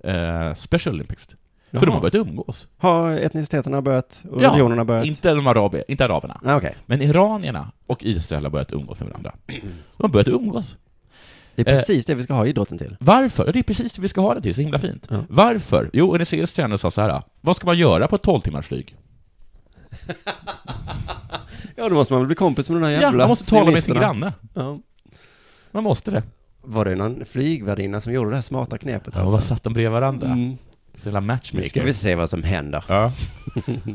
Speaker 4: eh, Special Olympics. För de har
Speaker 3: Jaha.
Speaker 4: börjat umgås.
Speaker 3: Har etniciteterna börjat och religionerna börjat?
Speaker 4: Inte, de arabi, inte araberna.
Speaker 3: Nej, Okej,
Speaker 4: Men iranierna och Israel har börjat umgås med varandra. De har börjat umgås.
Speaker 3: det är
Speaker 4: Eh.
Speaker 3: precis det vi ska ha idrotten till.
Speaker 4: Varför? Det är precis det vi ska ha det till, så himla fint.
Speaker 3: Ja.
Speaker 4: Varför? Jo, en israelisk tränare sa så här, vad ska man göra på ett 12 timmars flyg?
Speaker 3: Ja, då måste man väl bli kompis med de här jävla
Speaker 4: Ja, man måste tala med sin
Speaker 3: sionisterna.
Speaker 4: granne.
Speaker 3: Ja.
Speaker 4: Man måste det.
Speaker 3: Var det någon flygvärdinna som gjorde det här smarta knepet?
Speaker 4: Ja, vad
Speaker 3: alltså?
Speaker 4: satt de bredvid varandra?
Speaker 3: Mm.
Speaker 4: Så jävla
Speaker 3: Nu
Speaker 4: matchmaker.
Speaker 3: ska vi se vad som händer.
Speaker 4: Ja.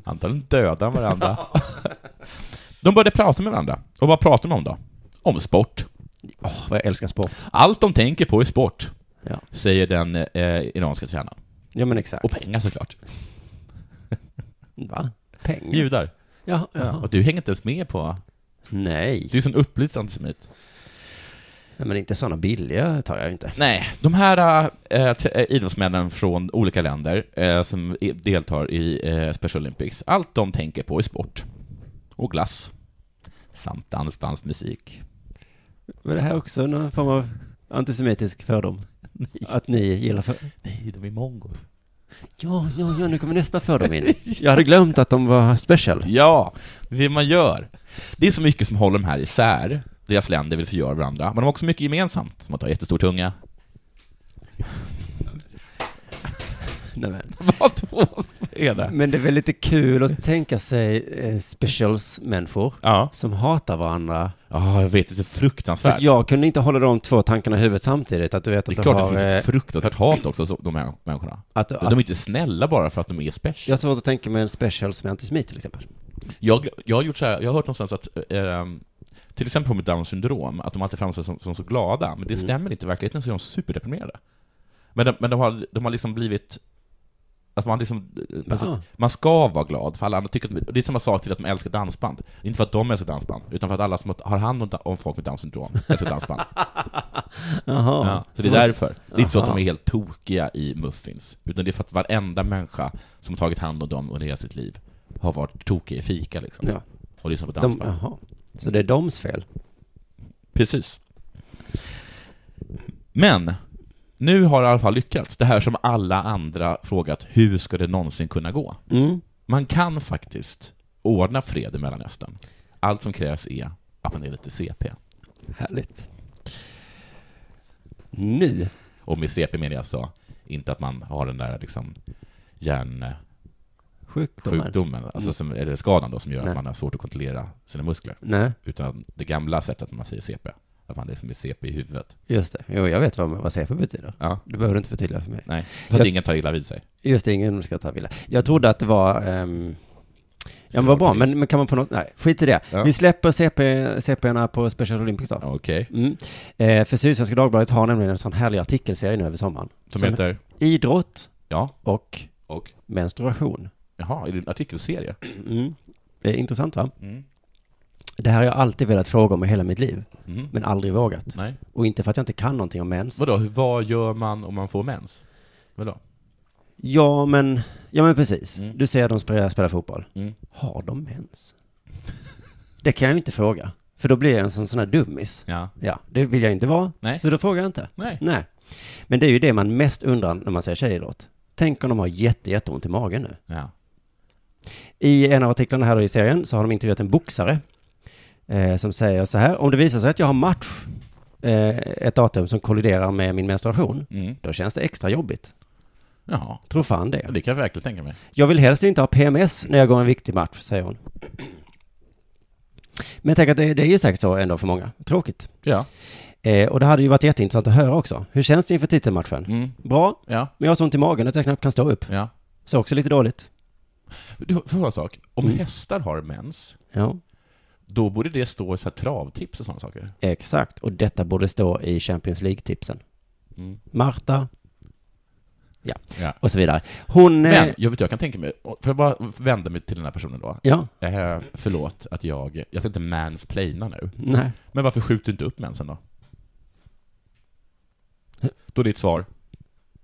Speaker 4: Antagligen dödar varandra. De började prata med varandra. Och vad pratar de om då? Om sport.
Speaker 3: Åh, vad jag älskar sport.
Speaker 4: Allt de tänker på är sport,
Speaker 3: Ja,
Speaker 4: säger den eh, iranska tränaren.
Speaker 3: ja men exakt.
Speaker 4: Och pengar såklart.
Speaker 3: Va? Pengar?
Speaker 4: Judar.
Speaker 3: Ja, ja.
Speaker 4: Och du hänger inte ens med på...
Speaker 3: Nej,
Speaker 4: Du är en upplyst antisemit.
Speaker 3: Nej, men inte sådana billiga tar jag ju inte.
Speaker 4: Nej, de här eh, t- eh, idrottsmännen från olika länder eh, som i- deltar i eh, Special Olympics, allt de tänker på är sport. Och glass. Samt dansbandsmusik.
Speaker 3: Var det här också någon form av antisemitisk fördom? Att ni gillar för...
Speaker 4: Nej, de är mongos.
Speaker 3: Ja, ja, ja, nu kommer nästa fördom in. Jag hade glömt att de var special.
Speaker 4: Ja, det är det man gör. Det är så mycket som håller de här isär. Deras länder vill förgöra varandra, men de har också mycket gemensamt, som att ha jättestor tunga.
Speaker 3: Nej, men.
Speaker 4: Vadå? är det?
Speaker 3: men det är väl lite kul att tänka sig eh, specials-människor
Speaker 4: Ja.
Speaker 3: som hatar varandra.
Speaker 4: Ja, jag vet. Det är så
Speaker 3: För
Speaker 4: fruktansvärt.
Speaker 3: att jag kunde inte hålla de två tankarna i huvudet samtidigt, att du vet
Speaker 4: Det
Speaker 3: att du
Speaker 4: är klart
Speaker 3: har...
Speaker 4: att det finns
Speaker 3: eh,
Speaker 4: ett fruktansvärt hat också, så, de här människorna.
Speaker 3: att,
Speaker 4: De är
Speaker 3: att,
Speaker 4: inte snälla bara för att de är special.
Speaker 3: jag har svårt att tänka mig en special som är antisemit till exempel.
Speaker 4: Jag, jag har gjort så här, jag har hört någonstans att, eh, till exempel på med Downs syndrom, att de alltid framstår som, som så glada, men det
Speaker 3: Mm.
Speaker 4: stämmer inte i verkligheten, så är de superdeprimerade. Men de, men de, har, de har liksom blivit, att man liksom, alltså, man ska vara glad, för alla andra tycker att, och det är samma sak till att de älskar dansband. Inte för att de älskar dansband, utan för att alla som har hand om, da- om folk med Downs syndrom älskar dansband.
Speaker 3: Jaha.
Speaker 4: Ja, så det är därför. Det är inte så att de är helt tokiga i muffins, utan det är för att varenda människa som har tagit hand om dem under hela sitt liv har varit tokig i fika liksom.
Speaker 3: Ja,
Speaker 4: Och lyssnat
Speaker 3: de,
Speaker 4: på dansband.
Speaker 3: jaha. Så det är doms fel?
Speaker 4: Precis. Men, nu har det i alla fall lyckats. Det här som alla andra frågat, hur ska det någonsin kunna gå?
Speaker 3: Mm.
Speaker 4: Man kan faktiskt ordna fred i Mellanöstern. Allt som krävs är att man är lite CP.
Speaker 3: Härligt. Nu?
Speaker 4: Och med CP menar jag så, inte att man har den där liksom hjärnsjukdomen,
Speaker 3: Sjukdomen?
Speaker 4: alltså som, eller skadan då, som gör
Speaker 3: Nej.
Speaker 4: att man har svårt att kontrollera sina muskler.
Speaker 3: Nej,
Speaker 4: Utan det gamla sättet man säger CP, att man liksom är CP i huvudet.
Speaker 3: just det. Jo, jag vet vad, vad CP betyder.
Speaker 4: Ja.
Speaker 3: Det behöver du inte förtydliga för mig.
Speaker 4: Nej, så att
Speaker 3: Jag-
Speaker 4: ingen tar illa vid sig.
Speaker 3: Just det, ingen ska ta villa. Jag trodde att det var... ehm, ja, men vad bra, men, men kan man på något... Nej, skit i det.
Speaker 4: Ja.
Speaker 3: Vi släpper CP, CP-erna på Special Olympics då.
Speaker 4: Okej.
Speaker 3: Mm. Eh, för Sydsvenska Dagbladet har nämligen en sån härlig artikelserie nu över sommaren.
Speaker 4: Som heter?
Speaker 3: Idrott
Speaker 4: Ja.
Speaker 3: och
Speaker 4: Och?
Speaker 3: menstruation.
Speaker 4: Jaha, är det en artikelserie?
Speaker 3: Mm. Det är intressant va?
Speaker 4: Mm.
Speaker 3: Det här har jag alltid velat fråga om i hela mitt liv, men aldrig vågat.
Speaker 4: Mm. Nej.
Speaker 3: Och inte för att jag inte kan någonting om mens.
Speaker 4: Vadå, hur- vad gör man om man får mens? Vadå?
Speaker 3: Ja, men, ja, men precis.
Speaker 4: Mm.
Speaker 3: Du ser de spelar, spelar fotboll.
Speaker 4: Mm.
Speaker 3: Har de mens? Det kan jag ju inte fråga, för då blir jag en sån, sån här dummis.
Speaker 4: Ja.
Speaker 3: Ja, det vill jag inte vara,
Speaker 4: Nej.
Speaker 3: så då frågar jag inte.
Speaker 4: Nej.
Speaker 3: Nej. Men det är ju det man mest undrar när man säger tjejidrott. Tänk om de har jätte, jätteont i magen nu.
Speaker 4: Ja.
Speaker 3: I en av artiklarna här då i serien så har de intervjuat en boxare eh, som säger så här. Om det visar sig att jag har match eh, ett datum som kolliderar med min menstruation,
Speaker 4: Mm.
Speaker 3: då känns det extra jobbigt.
Speaker 4: Jaha.
Speaker 3: Tror fan
Speaker 4: Ja,
Speaker 3: det.
Speaker 4: det kan jag verkligen tänka mig.
Speaker 3: Jag vill helst inte ha PMS när jag går en viktig match, säger hon. Men tänk att det, det är ju säkert så ändå för många. Tråkigt.
Speaker 4: Ja.
Speaker 3: Eh, och det hade ju varit jätteintressant att höra också. Hur känns det inför titelmatchen?
Speaker 4: Mm.
Speaker 3: Bra,
Speaker 4: Ja.
Speaker 3: men jag har så ont i magen att jag knappt kan stå upp.
Speaker 4: Ja.
Speaker 3: Så också lite dåligt.
Speaker 4: Du, får jag fråga en sak? Om hästar har mens,
Speaker 3: Ja,
Speaker 4: då borde det stå i så här travtips och sådana saker.
Speaker 3: exakt. Och detta borde stå i Champions League-tipsen.
Speaker 4: Mm.
Speaker 3: Marta. Ja,
Speaker 4: Ja.
Speaker 3: och så vidare. Hon... eh,
Speaker 4: Men, jag vet jag kan tänka mig, får jag bara vända mig till den här personen då?
Speaker 3: Ja,
Speaker 4: Eh, förlåt att jag, jag ska inte mansplaina nu,
Speaker 3: nej.
Speaker 4: men varför skjuter du inte upp mensen då? Då är ditt svar,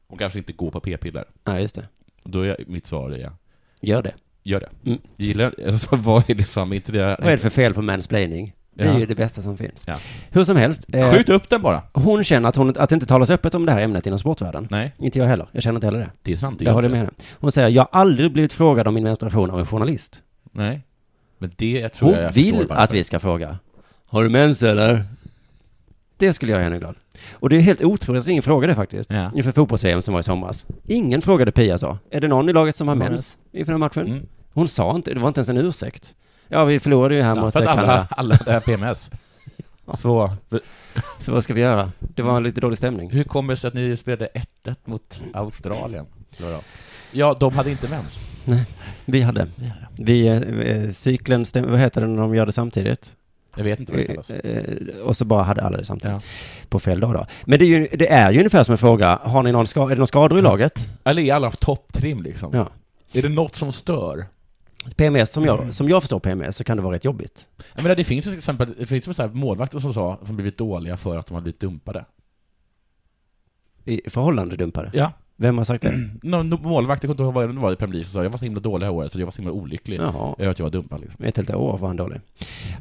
Speaker 4: hon kanske inte går på p-piller.
Speaker 3: Nej, just det.
Speaker 4: Då är jag- mitt svar är ja.
Speaker 3: Gör det.
Speaker 4: Gör det.
Speaker 3: Mm.
Speaker 4: Gillar, alltså, vad är liksom, inte det...
Speaker 3: Vad är det för fel på mansplaining? Det är
Speaker 4: Ja.
Speaker 3: ju det bästa som finns.
Speaker 4: Ja.
Speaker 3: Hur som helst. eh,
Speaker 4: Skjut upp den bara!
Speaker 3: Hon känner att, hon, att det inte talas öppet om det här ämnet inom sportvärlden.
Speaker 4: Nej,
Speaker 3: Inte jag heller. Jag känner inte heller det.
Speaker 4: det är sant.
Speaker 3: Jag håller med henne. Hon säger, jag har aldrig blivit frågad om min menstruation av en journalist.
Speaker 4: Nej. Men det tror
Speaker 3: Hon
Speaker 4: jag jag förstår
Speaker 3: vill
Speaker 4: varför.
Speaker 3: att vi ska fråga. Har du mens eller? Det skulle göra henne glad. Och det är helt otroligt att ingen frågade faktiskt.
Speaker 4: Ja.
Speaker 3: Inför fotbolls-VM som var i somras. Ingen frågade Pia så. Är det någon i laget som har mens inför den här matchen?
Speaker 4: Mm.
Speaker 3: Hon sa inte, det var inte ens en ursäkt. Ja, vi förlorade ju här
Speaker 4: Ja,
Speaker 3: mot
Speaker 4: för att alla,
Speaker 3: Kanada.
Speaker 4: alla är PMS. Så, för-
Speaker 3: Så vad ska vi göra? Det var en lite dålig stämning.
Speaker 4: hur kommer det sig att ni spelade 1-1 mot Australien? Eller vadå? Ja, de hade inte mens.
Speaker 3: Vi hade. Vi, eh, eh, cykeln, stäm, vad heter det när de gör det samtidigt?
Speaker 4: Jag vet inte vad det kallas.
Speaker 3: Eh, eh, Och så bara hade alla det samtidigt.
Speaker 4: Ja.
Speaker 3: På fel dag då. Men det är ju, det är ju ungefär som en fråga, har ni någon ska, är det någon skador i laget?
Speaker 4: Eller är alla topptrim liksom?
Speaker 3: eh, Ja.
Speaker 4: Är det något som stör?
Speaker 3: PMS, som
Speaker 4: Mm.
Speaker 3: jag, som jag förstår PMS, så kan det vara rätt jobbigt.
Speaker 4: Jag menar, det finns ju till exempel det finns ju så här målvakter som sa som blivit dåliga för att de har blivit dumpade.
Speaker 3: I förhållande dumpade.
Speaker 4: Ja.
Speaker 3: Vem har sagt
Speaker 4: Mm.
Speaker 3: det?
Speaker 4: Någon målvakt, jag kommer inte ihåg vad det var i Premier League, som sa jag var så himla dålig det här året, så jag var så himla olycklig.
Speaker 3: Jaha.
Speaker 4: Över att jag var dumpad liksom.
Speaker 3: Ett helt år var han dålig.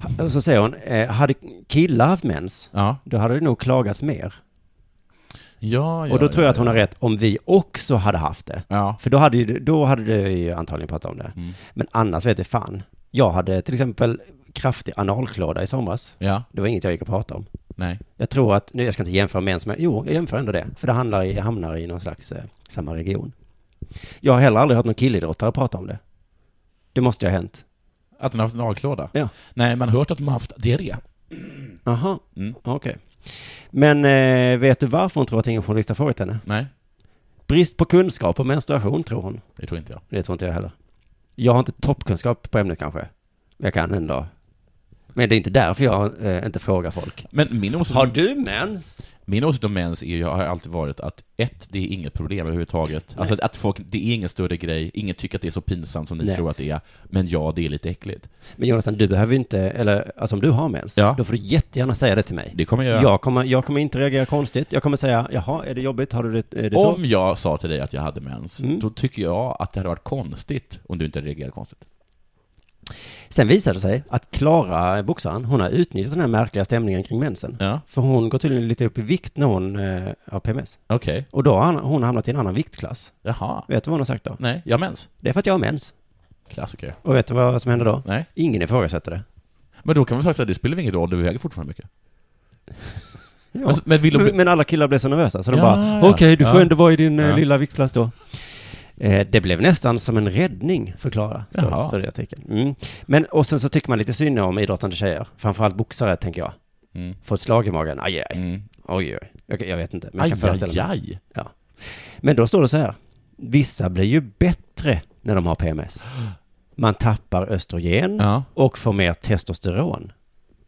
Speaker 3: Ha- Och så säger hon, eh, hade killar haft mens,
Speaker 4: Ja.
Speaker 3: då hade det nog klagats mer.
Speaker 4: ja, ja
Speaker 3: Och då tror
Speaker 4: ja,
Speaker 3: jag att hon
Speaker 4: ja.
Speaker 3: har rätt om vi också hade haft det.
Speaker 4: Ja.
Speaker 3: För då hade, ju, då hade du ju antagligen pratat om det.
Speaker 4: Mm.
Speaker 3: Men annars vet jag fan. Jag hade till exempel kraftig analklåda i somras.
Speaker 4: Ja.
Speaker 3: Det var inget jag gick och pratade om.
Speaker 4: Nej.
Speaker 3: Jag tror att, nu jag ska inte jämföra med ens, men jo, jag jämför ändå det. För det handlar i, hamnar i någon slags eh, samma region. Jag har heller aldrig hört någon killidrottare prata om det. Det måste ju ha hänt.
Speaker 4: Att den har haft en avklåda?
Speaker 3: Ja.
Speaker 4: Nej, man har hört att de har haft diarré.
Speaker 3: Aha, Ah,
Speaker 4: Mm.
Speaker 3: okej. Men eh, vet du varför hon tror att ingen journalist har frågat henne?
Speaker 4: Nej,
Speaker 3: Brist på kunskap om menstruation tror hon.
Speaker 4: det tror inte jag.
Speaker 3: Det tror inte jag heller. Jag har inte toppkunskap på ämnet kanske. Men jag kan en dag. Men det är inte därför jag eh, inte frågar folk.
Speaker 4: Men min åsikt,
Speaker 3: Har du mens?
Speaker 4: min åsikt om mens är ju, har alltid varit att ett, det är inget problem överhuvudtaget. Alltså att, att folk, det är ingen större grej, ingen tycker att det är så pinsamt som ni
Speaker 3: Nej.
Speaker 4: tror att det är. Men ja, det är lite äckligt.
Speaker 3: Men Jonathan, du behöver ju inte, eller alltså om du har mens,
Speaker 4: Ja.
Speaker 3: då får du jättegärna säga det till mig.
Speaker 4: Det kommer jag göra.
Speaker 3: Jag, kommer, jag kommer inte reagera konstigt. Jag kommer säga, jaha, är det jobbigt? Har du det, är det så?
Speaker 4: Om jag sa till dig att jag hade mens,
Speaker 3: Mm.
Speaker 4: då tycker jag att det hade varit konstigt om du inte reagerade konstigt.
Speaker 3: Sen visade det sig att Klara, boxaren, hon har utnyttjat den här märkliga stämningen kring mensen.
Speaker 4: Ja,
Speaker 3: För hon går tydligen lite upp i vikt när hon eh, har PMS.
Speaker 4: okej.
Speaker 3: Och då har han- hon hamnat i en annan viktklass.
Speaker 4: Jaha.
Speaker 3: Vet du vad hon har sagt då?
Speaker 4: Nej, jag har mens.
Speaker 3: Det är för att jag har mens.
Speaker 4: Klassiker.
Speaker 3: Och vet du vad som händer då?
Speaker 4: Nej.
Speaker 3: Ingen ifrågasätter det.
Speaker 4: Men då kan man säga att det spelar ingen roll, du väger fortfarande mycket. Men, men vill de...
Speaker 3: Men- Men alla killar blev så nervösa så de
Speaker 4: Ja,
Speaker 3: bara,
Speaker 4: ja.
Speaker 3: okej du får
Speaker 4: Ja.
Speaker 3: ändå vara i din eh,
Speaker 4: Ja.
Speaker 3: lilla viktklass då. Eh, det blev nästan som en räddning för Klara, står
Speaker 4: Jaha.
Speaker 3: står det i artikeln. Mm. Men, och sen så tycker man lite synd om idrottande tjejer, framförallt boxare tänker jag.
Speaker 4: Mm.
Speaker 3: Får ett slag i magen, aj, aj,
Speaker 4: Mm.
Speaker 3: oj, oj. Jag, jag vet inte, men jag
Speaker 4: Aj,
Speaker 3: kan föreställa
Speaker 4: aj,
Speaker 3: mig.
Speaker 4: aj.
Speaker 3: Men då står det så här, vissa blir ju bättre när de har PMS. Man tappar östrogen
Speaker 4: Ja.
Speaker 3: och får mer testosteron.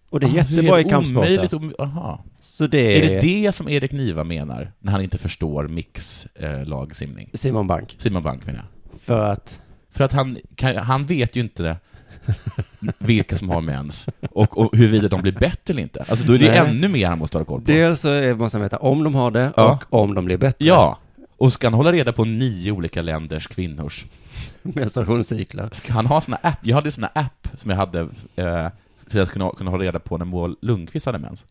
Speaker 3: Och det är
Speaker 4: Ah, så
Speaker 3: jättebra i
Speaker 4: helt omöjligt
Speaker 3: kampsporter.
Speaker 4: om- Aha.
Speaker 3: Så det
Speaker 4: Är
Speaker 3: är,
Speaker 4: det det som Erik Niva menar när han inte förstår mixlagsimning?
Speaker 3: Simon Bank.
Speaker 4: Simon Bank menar jag.
Speaker 3: För att,
Speaker 4: För att han, kan, han vet ju inte vilka som har mens och, och huruvida de blir bättre eller inte. Alltså då är det
Speaker 3: Nej.
Speaker 4: ännu mer han måste ha koll på.
Speaker 3: dels så är- måste man veta om de har det
Speaker 4: Ja.
Speaker 3: och om de blir bättre.
Speaker 4: Ja. Och ska han hålla reda på nio olika länders kvinnors
Speaker 3: Menstruationscykler.
Speaker 4: Ska han ha såna app? Jag hade såna app som jag hade eh, för att kunna, kunna ha reda på när Moa Lundqvist hade mens.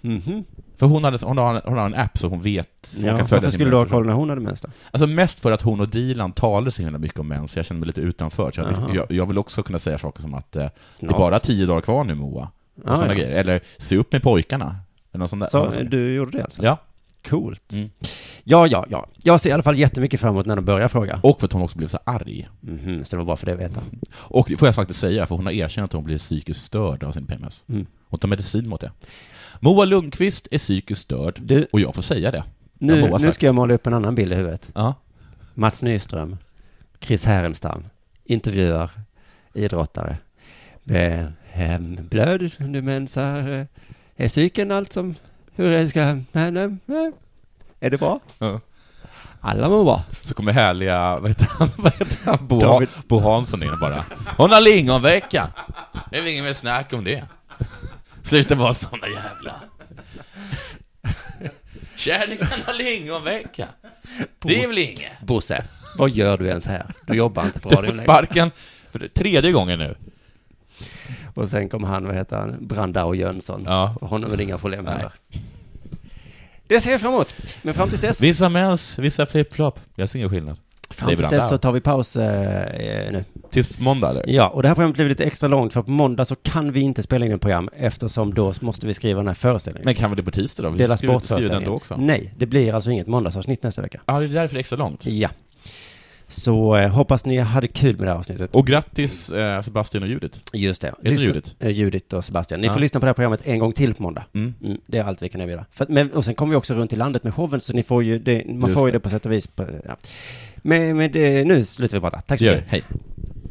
Speaker 3: Mhm.
Speaker 4: För hon, hade, hon, har, hon har en app så hon vet, så hon
Speaker 3: Ja,
Speaker 4: kan följa
Speaker 3: varför
Speaker 4: sin
Speaker 3: skulle du ha
Speaker 4: mens.
Speaker 3: koll när hon hade mens då?
Speaker 4: Alltså mest för att hon och Dilan talade så himla mycket om mens, så jag kände mig lite utanför. Så jag,
Speaker 3: Jaha.
Speaker 4: jag, jag vill också kunna säga saker som att eh, det är
Speaker 3: Snart.
Speaker 4: bara tio dagar kvar nu Moa, och
Speaker 3: Ja,
Speaker 4: såna
Speaker 3: ja.
Speaker 4: grejer. Eller se upp med pojkarna, eller något sånt där. något
Speaker 3: Så
Speaker 4: sånt.
Speaker 3: du gjorde det alltså?
Speaker 4: Ja,
Speaker 3: Coolt.
Speaker 4: Mm.
Speaker 3: Ja, ja, ja. Jag ser i alla fall jättemycket fram emot när de börjar fråga.
Speaker 4: och för att hon också blev så arg.
Speaker 3: Mhm, så det var bara för det att veta.
Speaker 4: Och det får jag faktiskt säga, för hon har erkänt att hon blir psykiskt störd av sin PMS.
Speaker 3: Mm.
Speaker 4: Hon tar medicin mot det. Moa Lundqvist är psykiskt störd,
Speaker 3: Du,
Speaker 4: och jag får säga det. Jag
Speaker 3: nu,
Speaker 4: må ha
Speaker 3: nu
Speaker 4: sagt.
Speaker 3: ska jag måla upp en annan bild i huvudet.
Speaker 4: Ja.
Speaker 3: Mats Nyström, Chris Härenstam, intervjuar idrottare. Eh, hem, blöd, du mensar, eh, är cykeln allt som, hur är det ska, nej, nej, nej. Eh, är det bra?
Speaker 4: Ja.
Speaker 3: Alla mår bra.
Speaker 4: Så kommer härliga, vad heter han, vad heter han? Bo,
Speaker 3: David.
Speaker 4: Bo Hansson in och bara Hon har lingonvecka! Det är väl inget mer snack om det. Sluta vara såna jävla... Kärleken har lingonvecka! Det är väl inget?
Speaker 3: Bosse, vad gör du ens här? Du jobbar inte på
Speaker 4: Du får
Speaker 3: radion längre.
Speaker 4: sparken för det- tredje gången nu.
Speaker 3: Och sen kom han, vad heter han, Brandao Jönsson.
Speaker 4: Ja.
Speaker 3: För honom är det inga problem
Speaker 4: Nej.
Speaker 3: heller. Det ser vi fram emot. Men fram tills dess,
Speaker 4: Vissa mens, vissa flip-flop. Jag ser ingen skillnad.
Speaker 3: fram tills dess så
Speaker 4: Brandao.
Speaker 3: tar vi paus eh, nu.
Speaker 4: Tills måndag eller?
Speaker 3: Ja, och det här programmet blev lite extra långt för på måndag så kan vi inte spela in ett program eftersom då måste vi skriva den här föreställningen.
Speaker 4: Men kan vi det på tisdag då? Vi
Speaker 3: Dela
Speaker 4: skriver- skriver den
Speaker 3: Sport-föreställningen.
Speaker 4: då också.
Speaker 3: Nej, det blir alltså inget måndagsavsnitt nästa vecka.
Speaker 4: Ja, det är därför det är extra långt.
Speaker 3: Ja. Så eh, hoppas ni hade kul med det här avsnittet.
Speaker 4: Och grattis eh, Sebastian och Judith.
Speaker 3: Just det.
Speaker 4: det Judit?
Speaker 3: eh, Judit och Sebastian. Ni
Speaker 4: Ja.
Speaker 3: får lyssna på det här programmet en gång till på måndag.
Speaker 4: Mm.
Speaker 3: Mm, det är allt vi kan erbjuda. För att, men, och sen kommer vi också runt i landet med showen, så ni får ju det, man
Speaker 4: Just
Speaker 3: får ju
Speaker 4: det.
Speaker 3: det på sätt och vis. På, ja. Men, men det, eh, nu slutar vi prata. Tack så
Speaker 4: Det gör vi.
Speaker 3: mycket.
Speaker 4: Hej.